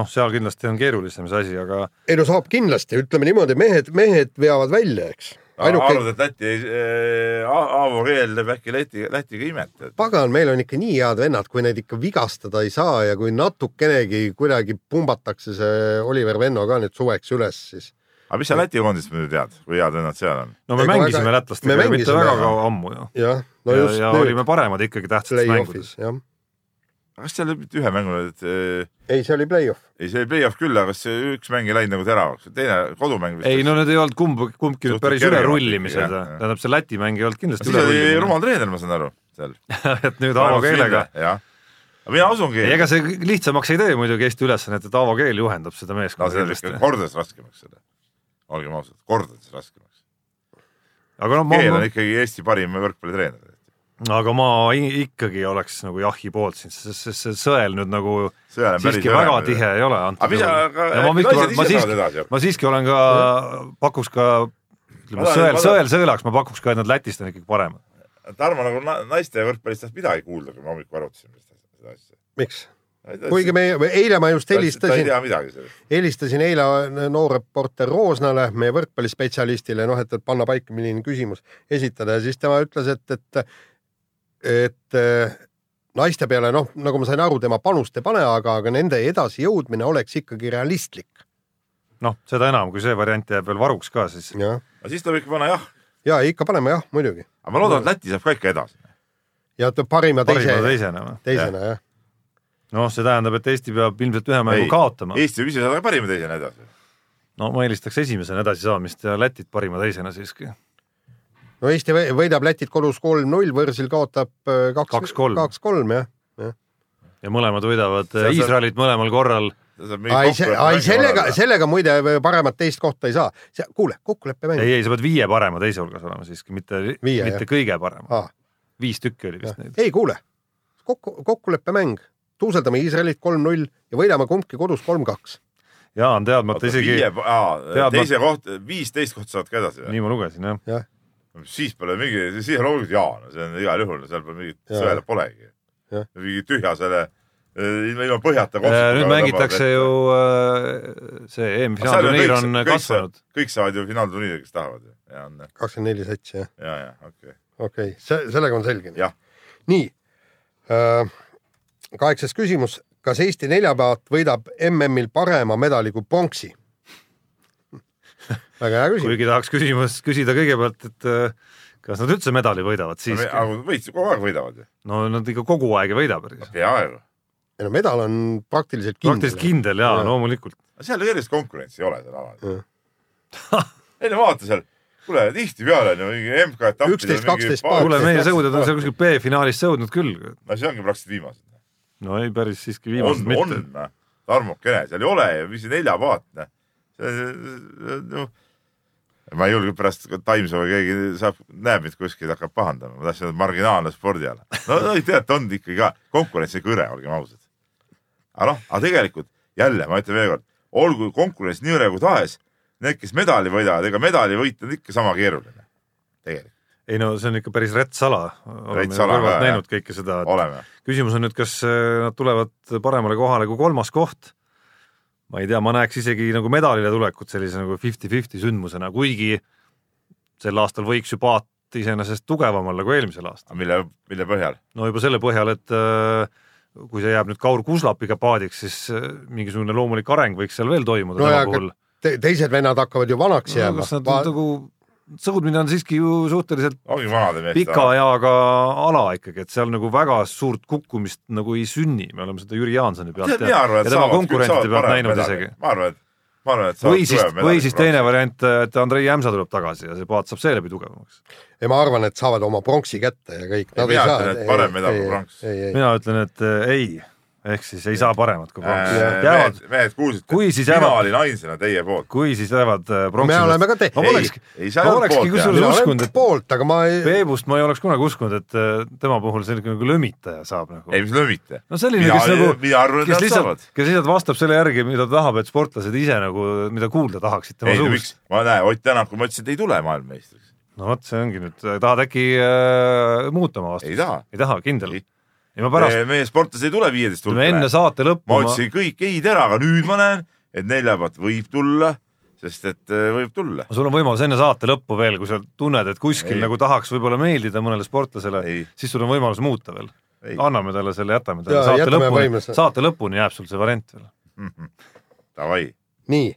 D: noh , seal kindlasti on keerulisem see asi , aga
C: ei no saab kindlasti , ütleme niimoodi , mehed , mehed veavad välja , eks .
E: arvad ,
C: ainuke ,
E: et Läti ei äh, , Aavo Keel teeb äkki Läti , Lätiga imet , et
C: pagan , meil on ikka nii head vennad , kui neid ikka vigastada ei saa ja kui natukenegi kuidagi pumbatakse see Oliver Venno ka nüüd suveks üles , siis
E: aga mis sa Läti koondist muidu tead , kui head vennad seal on ?
D: no me
C: Ega
D: mängisime
C: väga- me
D: lätlastega ju mitte
C: mängisime,
D: väga
C: jah.
D: kaua ammu ju .
C: jah , no
D: ja,
C: just
D: ja
C: nüüd
D: olime paremad ikkagi tähtsates mängudes
C: play-off'is ,. jah .
E: kas seal oli mitte ühe mängu , et äh,
C: ei , see oli play-off .
E: ei , see oli play-off küll , aga see üks mäng ei läinud nagu teravaks , teine kodumäng vist .
D: ei no need ei olnud kumb , kumbki nüüd
E: Suhteliselt
D: päris
E: kergemad
D: ülerullimised
E: ikkagi, , jah, jah.
D: tähendab see Läti mäng ei olnud kindlasti
E: siis oli
D: ülerullimine ,
E: rumal treener , ma saan aru , seal .
D: et nüüd Aavo keelega .
E: jah , aga mina usungi ,
D: ei , ega see lihtsamaks ei tee muidugi Eesti ülesannet , et Aavo Keel juhendab seda
E: no
D: meeskonda
E: see oli
D: kindlasti
E: ikka . kordades raskemaks selle , olgem ausad , kordades raskemaks .
D: aga noh ,
E: Keel on
D: ma ,
E: ikkagi Eesti parim võrkpallitreener .
D: aga ma i- ikkagi oleks nagu jahi poolt siin , sest sest see sõel nüüd nagu
E: Sõel on päris
D: siiski
E: hõre
D: väga
E: muidugi.
D: tihe ei ole
E: Aga
D: antud
E: mis sa , aga äkki naised
D: ma
E: ise saavad
D: siiski ,
E: edasi ?
D: ma siiski olen ka , pakuks ka ütleme
E: Ma-
D: sõel
E: ma- ,
D: sõel sõelaks ma pakuks ka , et nad Lätist on ikkagi paremad .
E: Tarmo nagu na- naiste võrkpallist tahtis midagi kuulda , kui me hommikul arutasime seda seda asja .
C: miks ? kuigi me , eile ma just
E: Äh, ta ei
C: helistasin
E: tea midagi sellest .
C: helistasin eile noorreporter Roosnale , meie võrkpallispetsialistile , noh , et , et panna paika , milline küsimus esitada ja siis tema ütles , et , et , et eh, naiste peale , noh , nagu ma sain aru , tema panust ei pane , aga , aga nende edasijõudmine oleks ikkagi realistlik .
D: noh , seda enam , kui see variant jääb veel varuks ka , siis
C: ja ,
E: aga siis tuleb ikka panna jah ,
C: ja ikka paneme jah , muidugi
E: aga ma loodan , et Läti saab ka ikka edasi .
C: ja et parima
D: parima
C: teise ,
D: teisena või ?
C: teisena jah .
D: noh , see tähendab , et Eesti peab ilmselt ühe mängu
E: Ei.
D: kaotama .
E: Eesti võib ise saada ka parima teisena edasi .
D: no ma eelistaks esimesena edasisaamist ja Lätit parima teisena siiski .
C: no Eesti võ- võidab Lätit kodus kolm-null , võõrsil kaotab eh, kaks ,
D: Kaks-kolm.
C: kaks-kolm jah .
D: ja mõlemad võidavad
E: See on see-
D: Iisraelit mõlemal korral .
C: ai , ai sellega , sellega muide paremat teist kohta ei saa . kuule , kokkuleppemäng .
D: ei , ei , sa pead viie parema teise hulgas olema siiski , mitte ,
C: Viie,
D: mitte kõige parema .
C: ah, .
D: viis tükki oli vist neid .
C: ei kuule , kokku , kokkuleppemäng , tuuseldame Iisraelit kolm-null ja võidame kumbki kodus kolm-kaks .
D: ja on teadmata isegi , teadma-
E: teise koht , viisteist kohta saad ka edasi või ?
D: nii ma lugesin jah .
E: siis pole mingi , siis on loomulikult jaa , no see on igal juhul , seal pole mingit
C: Jaa.
E: sõela polegi
C: Jah. .
E: mingi tühja selle , ilma ilma põhjata .
D: Äh, nüüd mängitakse ju , see EM-finaalturniir on kasvanud ..
E: kõik saavad ju finaalturniiri , kes tahavad ju . ja on ,
C: kakskümmend neli satsi , jah ?
E: ja , ja okei okay. .
C: okei okay. , see , sellega on selge .
E: Jah.
C: nii . kaheksas küsimus , kas Eesti neljapäevat võidab MM-il parema medali kui pronksi ? väga hea küsimus .
D: kuigi tahaks küsimus , küsida kõigepealt , et äh, kas nad üldse medali võidavad siiski .
E: aga võitsid kogu aeg võidavad ju .
D: no nad ikka kogu aeg ei võida päris .
E: peaaegu .
C: ei no medal on praktiliselt
D: praktiliselt
C: kindel .
D: kindel jaa
C: Jaa.
D: ja. , loomulikult .
E: seal erilist konkurentsi ei ole seal alal
C: Jah. .
E: ei no vaata seal , kuule tihtipeale on ju mingi MK-etapp .
C: 11, 12 paari-
D: kuule , meie sõudjad on seal
E: kuskil .
D: kuskil B-finaalis sõudnud küll .
E: no see ongi praktiliselt viimased .
D: no ei , päris siiski
E: on
D: viimased , mitte .
E: on , armukene , seal ei ole ju , mis see noh. neljapaatne . No, noh. ma ei julge pärast , kui Taimsoo või keegi saab , näeb mind kuskil , hakkab pahandama , ma tahtsin öelda marginaalne spordiala . no, no ei tea , et on ikkagi ka konkurentsi kõre , olgem ausad . aga noh , aga tegelikult jälle ma ütlen veelkord , olgu konkurents nii hõre kui tahes , need , kes medali võidavad , ega medali võita on ikka sama keeruline . tegelikult
D: ei no see on ikka päris rätt sala. oleme ju
E: sala,
D: kõrvalt
E: jah, jah.
D: näinud kõike seda .
E: oleme .
D: küsimus on nüüd , kas äh, nad tulevad paremale kohale kui kolmas koht . ma ei tea , ma näeks isegi nagu medalile tulekut sellise nagu fifty-fifty sündmusena , kuigi sel aastal võiks ju paat iseenesest tugevam olla kui eelmisel aastal .
E: mille , mille põhjal ?
D: no juba selle põhjal , et äh, kui see jääb nüüd Kaur Kuslapiga paadiks , siis äh, mingisugune loomulik areng võiks seal veel toimuda
C: No
D: no,
C: ja
D: tema
C: ka-
D: puhul .
C: Te, teised vennad hakkavad ju vanaks jääma
D: kas . nad
C: Va
D: nüüd nagu , sõudmine on siiski ju suhteliselt
E: ongi vanade meeste
D: pika . eaga ala ikkagi , et seal nagu väga suurt kukkumist nagu ei sünni , me oleme seda Jüri Jaansoni pealt
E: mina arvan , et
D: ja tema
E: saavad küll ,
D: konkurentide
E: saavad
D: pealt
E: parema
D: näinud
E: medali
D: isegi ..
E: ma arvan , et , ma arvan , et
D: või siis , või siis teine . variant , et Andrei Jämsa tuleb tagasi ja see paat saab seeläbi tugevamaks .
C: ja ma arvan , et saavad oma pronksi kätte ja kõik .
E: mina ütlen, et parem medal kui pronks.
D: mina ütlen , et äh, ei , ehk siis ei saa paremat
E: Äh,
D: kui pronksi . jäävad
E: mehed , mehed kuulsid ,
D: Kui siis
E: mina
D: jäävad-
E: olin ainsana teie poolt .
D: kui siis jäävad äh, pronksi .
C: Me oleme ka te-
D: ma
E: Ei,
D: poleks
E: ei , saa
D: ma
E: poolt
D: polekski
E: jääda.
D: kusjuures
C: mina
D: uskunud ,
C: olen
D: et
C: poolt , aga ma ei ,
D: Peebust ma ei oleks kunagi uskunud , et äh, tema puhul selline nagu lõmitaja saab nagu .
E: ei , mis lõmite .
D: no selline , kes
E: mina
D: nagu
E: arvan ,, et
D: kes
E: nad
D: lihtsalt
E: saavad .,
D: kes lihtsalt vastab selle järgi , mida ta tahab , et sportlased ise nagu , mida kuulda tahaksid tema
E: ei , miks
D: suust .,
E: ma näen , Ott Tänak , ma ütlesin , et ei tule maailmameistriks .
D: no vot , see ongi nüüd , tahad äkki äh, muuta oma
E: ei
D: vastust ?
E: taha .
D: ei taha , kindel ?
E: Ei.
D: ei ma pärast ,
E: meie sportlased ei tule viieteist
D: ütleme enne saate lõppu
E: ma
D: ma, ma,
E: otsin kõik ei ära , aga nüüd ma näen , et neljapäevat võib tulla , sest et äh, võib tulla .
D: sul on võimalus enne saate lõppu veel , kui sa tunned , et kuskil
E: Ei.
D: ei. nagu tahaks võib-olla meeldida mõnele sportlasele
E: Ei. ,
D: siis sul on võimalus muuta veel .
E: Ei.
D: anname talle selle , jätame
C: Jaa,
D: talle saate
C: jätame
D: lõpuni ,
C: võimaluse.
D: saate lõpuni jääb sul see variant veel .
E: Davai ,
C: nii ,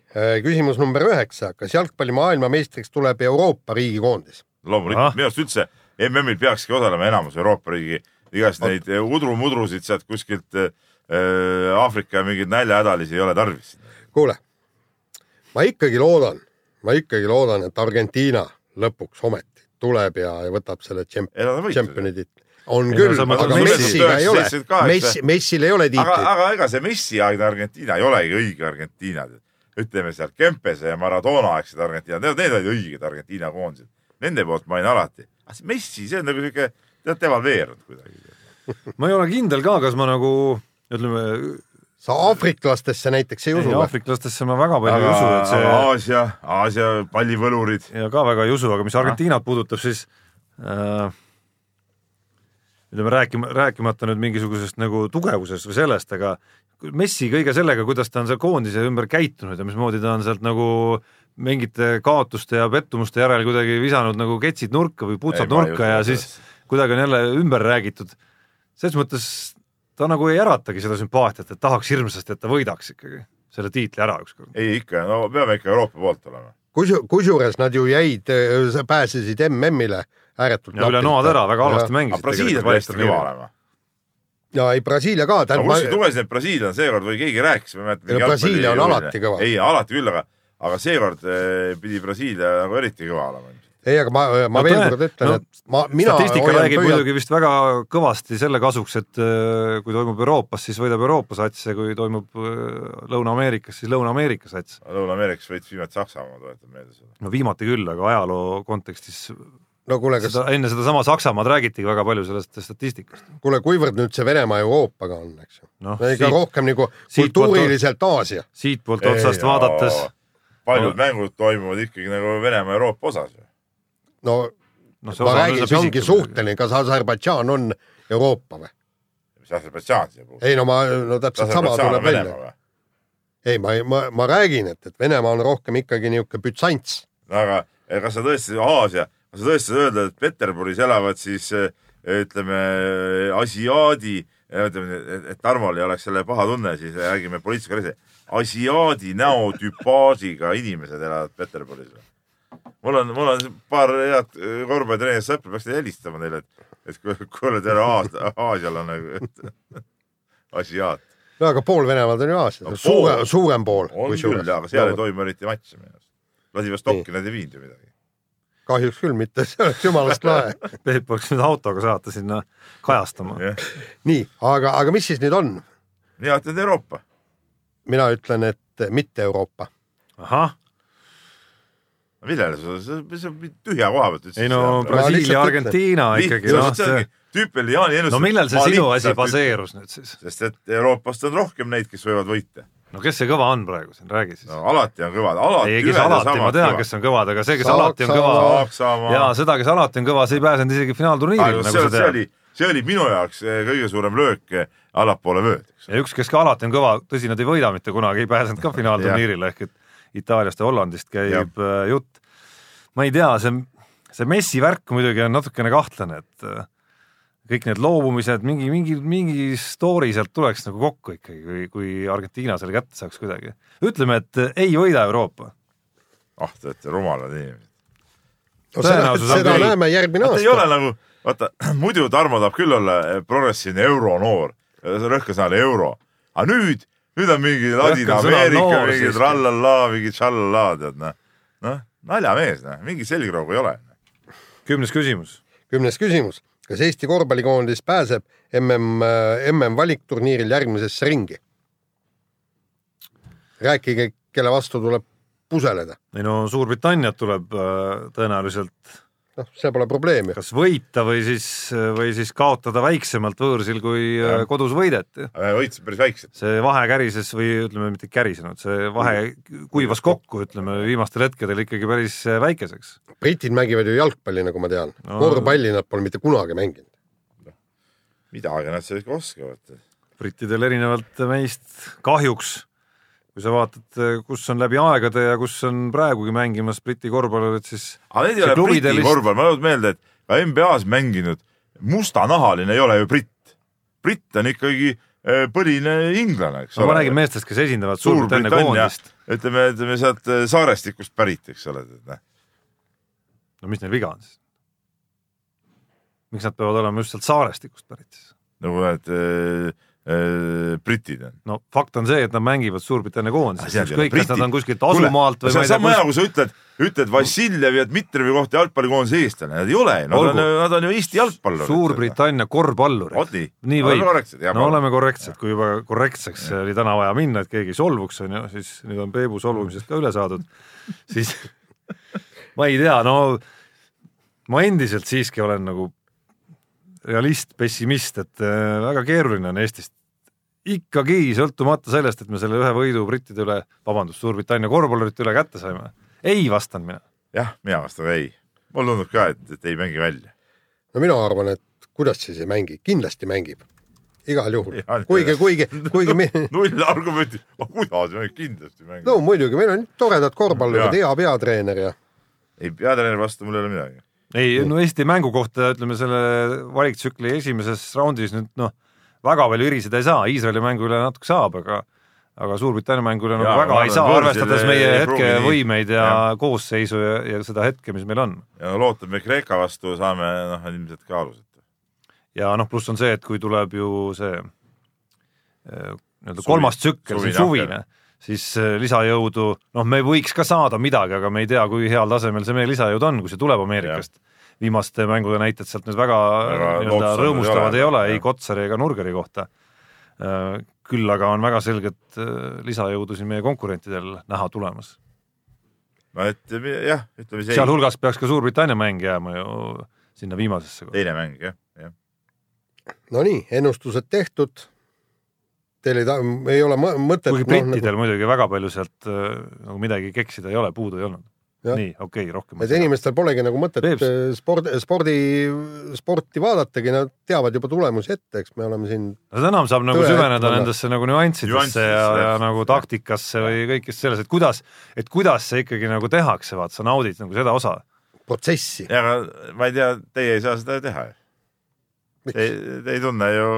C: küsimus number üheksa , kas jalgpalli maailmameistriks tuleb Euroopa riigikoondis ?
E: loomulikult
D: Ah.
E: minu arust üldse MM-il peakski osalema enamus Euroopa riigi igast neid äh, udrumudrusid sealt kuskilt äh, äh, Aafrika mingeid näljahädalisi ei ole tarvis .
C: kuule , ma ikkagi loodan , ma ikkagi loodan , et Argentiina lõpuks ometi tuleb ja , ja võtab selle tšemp-
E: Ei, nad on võitnud.
C: tšempioni tiitli . on
D: no
C: küll ,
D: sa mõtled
C: aga
D: Messi-
C: Messiga ei ole
E: 78. ,
C: Messi , Messil ei ole
E: aga ,
C: tiitlit .
E: aga ega see Messi-aegne Argentiina ei olegi õige Argentiina . ütleme seal Kempese ja Maradona aegsed Argentiinad , need need olid õiged Argentiina koondised . Nende poolt ma olin alati . aga see Messi , see on nagu sihuke , tead , devalveerunud kuidagi .
D: ma ei ole kindel ka , kas ma nagu ütleme ,
C: sa aafriklastesse näiteks ei usu
D: ei
C: või ?
D: aafriklastesse ma väga palju ei
E: aga
D: usu , et see
E: Aasia , Aasia pallivõlurid ,
D: ja ka väga ei usu , aga mis Argentiinat puudutab , siis äh, ütleme rääkima , rääkimata nüüd mingisugusest nagu tugevusest või sellest , aga Messi kõige sellega , kuidas ta on seal koondise ümber käitunud ja mismoodi ta on sealt nagu mingite kaotuste ja pettumuste järel kuidagi visanud nagu ketsid nurka või putsad
E: Ei, ma ei
D: nurka
E: usu
D: ja
E: seda.
D: siis kuidagi on jälle ümber räägitud . selles mõttes ta nagu ei äratagi seda sümpaatiat , et tahaks hirmsasti , et ta võidaks ikkagi selle tiitli ära ükskord .
E: ei ikka , no peame ikka Euroopa poolt olema .
C: kusu- , kusjuures nad ju jäid , pääsesid MM-ile ääretult
D: ja üle noad ära , väga halvasti mängisid .
E: aga Brasiilia peab hästi kõva . olema .
C: ja ei , Brasiilia ka ,
E: aga
C: tähendab
E: kuskil
C: ma... ,
E: tugesid need Brasiilia on seekord või keegi rääkis , ma ei mäleta .
C: Ei no Brasiilia on alati kõva.
E: ei , alati küll , aga , aga seekord eh, pidi Brasiilia nagu eriti kõva olema .
C: ei , aga ma , ma no,
D: No
C: veel
D: tõe-
C: kord ütlen
D: no
C: no, , et ma , mina
D: statistika
C: hoian
D: räägib
C: pöialt ,
D: muidugi vist väga kõvasti selle kasuks , et äh, kui toimub Euroopas , siis võidab Euroopa sats ja kui toimub äh, Lõuna-Ameerikas , siis Lõuna-Ameerika sats .
E: Lõuna-Ameerikas võitis viimati Saksamaa , tuletan meelde seda .
D: no viimati küll , aga ajaloo kontekstis
C: no kuule , kas
D: seda, enne sedasama Saksamaad räägitigi väga palju sellest statistikast .
C: kuule , kuivõrd nüüd see Venemaa Euroopaga on , eks ju
D: Noh,
C: no, . ega
D: siit-
C: rohkem nagu
D: siit poolt-
C: kultuuriliselt Aasia .
D: siitpoolt otsast vaadates ,
E: paljud
D: No.
E: mängud toimuvad ikkagi nagu Venemaa Euroopa osas ju .
C: no
D: noh , see
C: ma
D: osa on
C: räägin ,
D: üsna
C: see ongi
D: pisike .
C: suhteline , kas Aserbaidžaan on Euroopa või ?
E: mis Aserbaidžaan siia puutub ?
C: ei no ma , no täpselt sama tuleb välja .
E: või ?
C: ei , ma , ma , ma räägin , et , et Venemaa on rohkem ikkagi niisugune bütsants .
E: no aga eh, kas sa tõesti , Aasia , kas sa tõesti saad öelda , et Peterburis elavad siis eh, ütleme asiaadi , ütleme , et Tarmol ei oleks selle paha tunne , siis räägime poliitilise korrektse , asiaadi näotüpaažiga inimesed elavad Peterburis või ? mul on , mul on paar head eh, korvpallitreeneri sõpra , peaks helistama neile , et , et ku- kuule , tere , aasialane , asiaat .
C: no aga pool Venemaad on ju
E: No
C: Aasias , suure
E: pool. ,
C: suurem pool
E: on küll , aga seal ei toimu eriti matše minu arust . Vladivostokki nad ei viinud ju midagi .
C: kahjuks küll mitte , see oleks jumalast lahe .
D: Peep oleks nüüd autoga saata sinna kajastama .
E: jah ,
C: nii , aga , aga mis siis nüüd on ?
E: mina ütlen et Euroopa
C: mina ütlen , et mitte Euroopa .
D: ahah ,
E: No millele sa , sa , sa tühja koha pealt ütlesid .
D: ei no
C: lihtsalt
D: Brasiilia ,
C: ütlen.
D: Argentiina ikkagi , noh see ,
E: tüüpiline Jaani ennustus .
D: no millel see sinu asi baseerus nüüd siis ?
E: sest et Euroopast on rohkem neid , kes võivad võita .
D: no kes see kõva on praegu siin , räägi siis
E: no alati on kõvad , alati
D: ei , kes alati , ma tean , kes on kõvad , aga see , kes
C: Saksama-
D: alati on kõva
E: Saksamaa.
D: ja seda , kes alati on kõva , see ei pääsenud isegi finaalturniiril , nagu
E: see,
D: sa
E: see
D: tead .
E: oli , see oli minu jaoks eh, kõige suurem löök eh, allapoole vööd .
D: ja üks , kes ka alati on kõva , tõsi , nad ei võida mitte kunagi , ei pääsenud ka finaalturniirile ehk et Itaaliast ja Hollandist käib äh, jutt . ma ei tea , see , see Messi värk muidugi on natukene kahtlane , et äh, kõik need loobumised , mingi , mingi , mingi story sealt tuleks nagu kokku ikkagi , kui , kui Argentiina selle kätte saaks kuidagi . ütleme , et äh, ei võida Euroopa .
E: ah , te olete rumalad inimesed .
C: no, . seda,
D: Tõenäosus on
C: seda
D: küll.
C: näeme järgmine
E: vaata ei ole
C: aasta .
E: nagu , vaata muidu Tarmo tahab küll olla eh, progressiivne euronoor , rõhkasõnal euro , aga nüüd , nüüd on mingi
D: Rõhkasõnal
E: Ladina-Ameerika
D: noor
E: mingid
D: siiski.
E: trallallaa , mingid tšallallaa , tead noh , noh naljamees , noh mingi selgroogu ei ole . noh.
D: kümnes küsimus .
C: kümnes küsimus . kas Eesti korvpallikoondis pääseb mm , MM-valikturniiril järgmisesse ringi ? rääkige , kelle vastu tuleb puseleda .
D: ei no Suurbritanniat tuleb äh, tõenäoliselt
C: noh , see pole probleem ju .
D: kas võita või siis , või siis kaotada väiksemalt võõrsil , kui äh, kodus võideti .
E: võitsid päris väikselt .
D: see vahe kärises või ütleme , mitte kärisenud , see vahe kuivas kokku , ütleme viimastel hetkedel ikkagi päris äh, väikeseks .
C: britid mängivad ju jalgpalli , nagu ma tean no. . korvpalli nad pole mitte kunagi mänginud .
E: midagi nad seal ikka oskavad .
D: brittidel erinevalt meist kahjuks , kui sa vaatad , kus on läbi aegade ja kus on praegugi mängimas Briti korvpallurid , siis
E: aga need ei
D: See
E: ole
D: klubide
E: Briti
D: list-
E: korvpall , ma tuletan meelde , et ka NBA-s mänginud mustanahaline ei ole ju britt . britt on ikkagi eh, põline inglane , eks
D: no ma
E: ole .
D: räägin meestest , kes esindavad Suurbritannia
E: Suurbritannia
D: koondist .,
E: ütleme , ütleme sealt eh, saarestikust pärit , eks ole . noh.
D: no mis neil viga on siis ? miks nad peavad olema just sealt saarestikust pärit siis ?
E: nagu need eh, eh, britid on .
D: no fakt on see , et nad mängivad Suurbritannia
E: Ah,
D: koondises , ükskõik kas nad on kuskilt asumaalt või
E: see
D: ma
E: on
D: ei tea
E: sama hea ,
D: kus ,
E: kui sa ütled , ütled Vassiljev ja Dmitrijevi kohta jalgpallikoondise eestlane , nad ei ole ju , nad
D: Olgu.
E: on , nad on ju Eesti jalgpallurid .
D: Suurbritannia korvpallurid .
E: vot nii .
D: nii võib , no
E: võib .
D: oleme korrektsed , kui juba korrektseks oli täna vaja minna , et keegi ei solvuks , on ju , siis nüüd on Peebu solvumisest ka üle saadud , siis ma ei tea , no ma endiselt siiski olen nagu realist , pessimist , et äh, väga keeruline on Eestist ikkagi sõltumata sellest , et me selle ühe võidu brittide üle , vabandust , Suurbritannia korvpallurite üle kätte saime , ei vastanud mina .
E: jah , mina vastan ka ei . mulle tundub ka , et , et ei mängi välja .
C: no mina arvan , et kuidas siis ei mängi , kindlasti mängib . igal juhul
E: Jaa, .
C: kuigi , kuigi , kuigi me...
E: null argumenti , kuidas me kindlasti mängime
C: no muidugi , meil on toredad korvpallurid ,
E: Jaa.
C: hea peatreener ja
E: ei , peatreeneri vastu mul ei ole midagi .
D: ei
E: Noh.
D: no Eesti mängu kohta ütleme selle valiktsükli esimeses raundis nüüd noh , väga palju iriseda ei saa , Iisraeli mängu üle natuke saab , aga aga Suurbritannia mängu üle nagu
E: Jaa, ma
D: väga ei
E: arvan,
D: saa ,
E: et võrdsele
D: arvestades meie
E: ei pruugi nii.
D: hetkevõimeid ja,
E: Jah.
D: ja koosseisu ja, ja seda hetke , mis meil on .
E: ja no lootame Kreeka vastu saame noh , ilmselt ka aluseta .
D: ja noh , pluss on see , et kui tuleb ju see eh, nii-öelda
E: Suvi-
D: kolmas tsükkel ,
E: suvine
D: see suvine
E: aken. ,
D: siis eh, lisajõudu , noh , me võiks ka saada midagi , aga me ei tea , kui heal tasemel see meie lisajõud on , kui see tuleb Ameerikast . viimaste mängude näited sealt nüüd väga
E: Väga
D: nii-öelda
E: lootsam
D: rõõmustavad ei ole
E: jah.
D: ei Kotsari ega Nurgeri kohta . küll aga on väga selget eh, lisajõudu siin meie konkurentidel näha tulemas .
E: no et mi- jah , ütleme see ei,
D: sealhulgas peaks ka Suurbritannia mäng jääma ju sinna viimasesse .
E: teine mäng jah , jah .
C: Nonii , ennustused tehtud . Teil ei ta- , ei ole mõ- mõtet . noh, nagu-
D: kuigi brittidel muidugi väga palju sealt äh, nagu midagi keksida ei ole , puudu ei olnud .
C: Jah.
D: nii , okei okay, , rohkem
C: et . inimestel polegi nagu mõtet
D: Peeps.
C: äh, spordi , spordi , sporti vaadatagi , nad teavad juba tulemusi ette , eks me oleme siin ,
D: seda enam saab nagu
C: Tõe-
D: süveneda
C: tõe-
D: nendesse nagu nüanssidesse
E: Nüanssidesse,
D: ja , ja
E: jah.
D: nagu taktikasse või kõikesse selles , et kuidas , et kuidas see ikkagi nagu tehakse , vaat sa naudid nagu seda osa .
C: protsessi .
E: ja aga ma ei tea , teie ei saa seda ju teha . Te, te ei tunne ju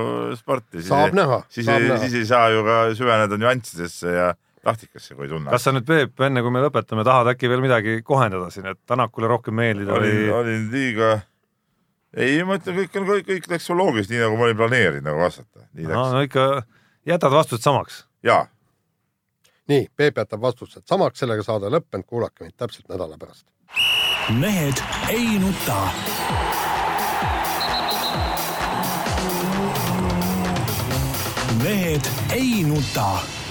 E: sporti .
C: saab näha ,
E: siis
C: saab
E: ei ,
C: näha
E: siis . ei saa ju ka süveneda nüanssidesse ja taktikasse , kui ei tunne .
D: kas sa nüüd , Peep , enne kui me lõpetame , tahad äkki veel midagi kohendada siin , et Tanakule rohkem meeldida
E: olin ,
D: või ?
E: olin liiga , ei ma ütlen , kõik on , kõik , kõik läks loogiliselt , nii nagu ma olin planeerinud nagu vastata . nii
D: no,
E: läks .
D: no ikka jätad vastused samaks .
E: jaa ,
C: nii , Peep jätab vastused samaks , sellega saade lõppenud , kuulake meid täpselt nädala pärast .
A: mehed ei nuta . mehed ei nuta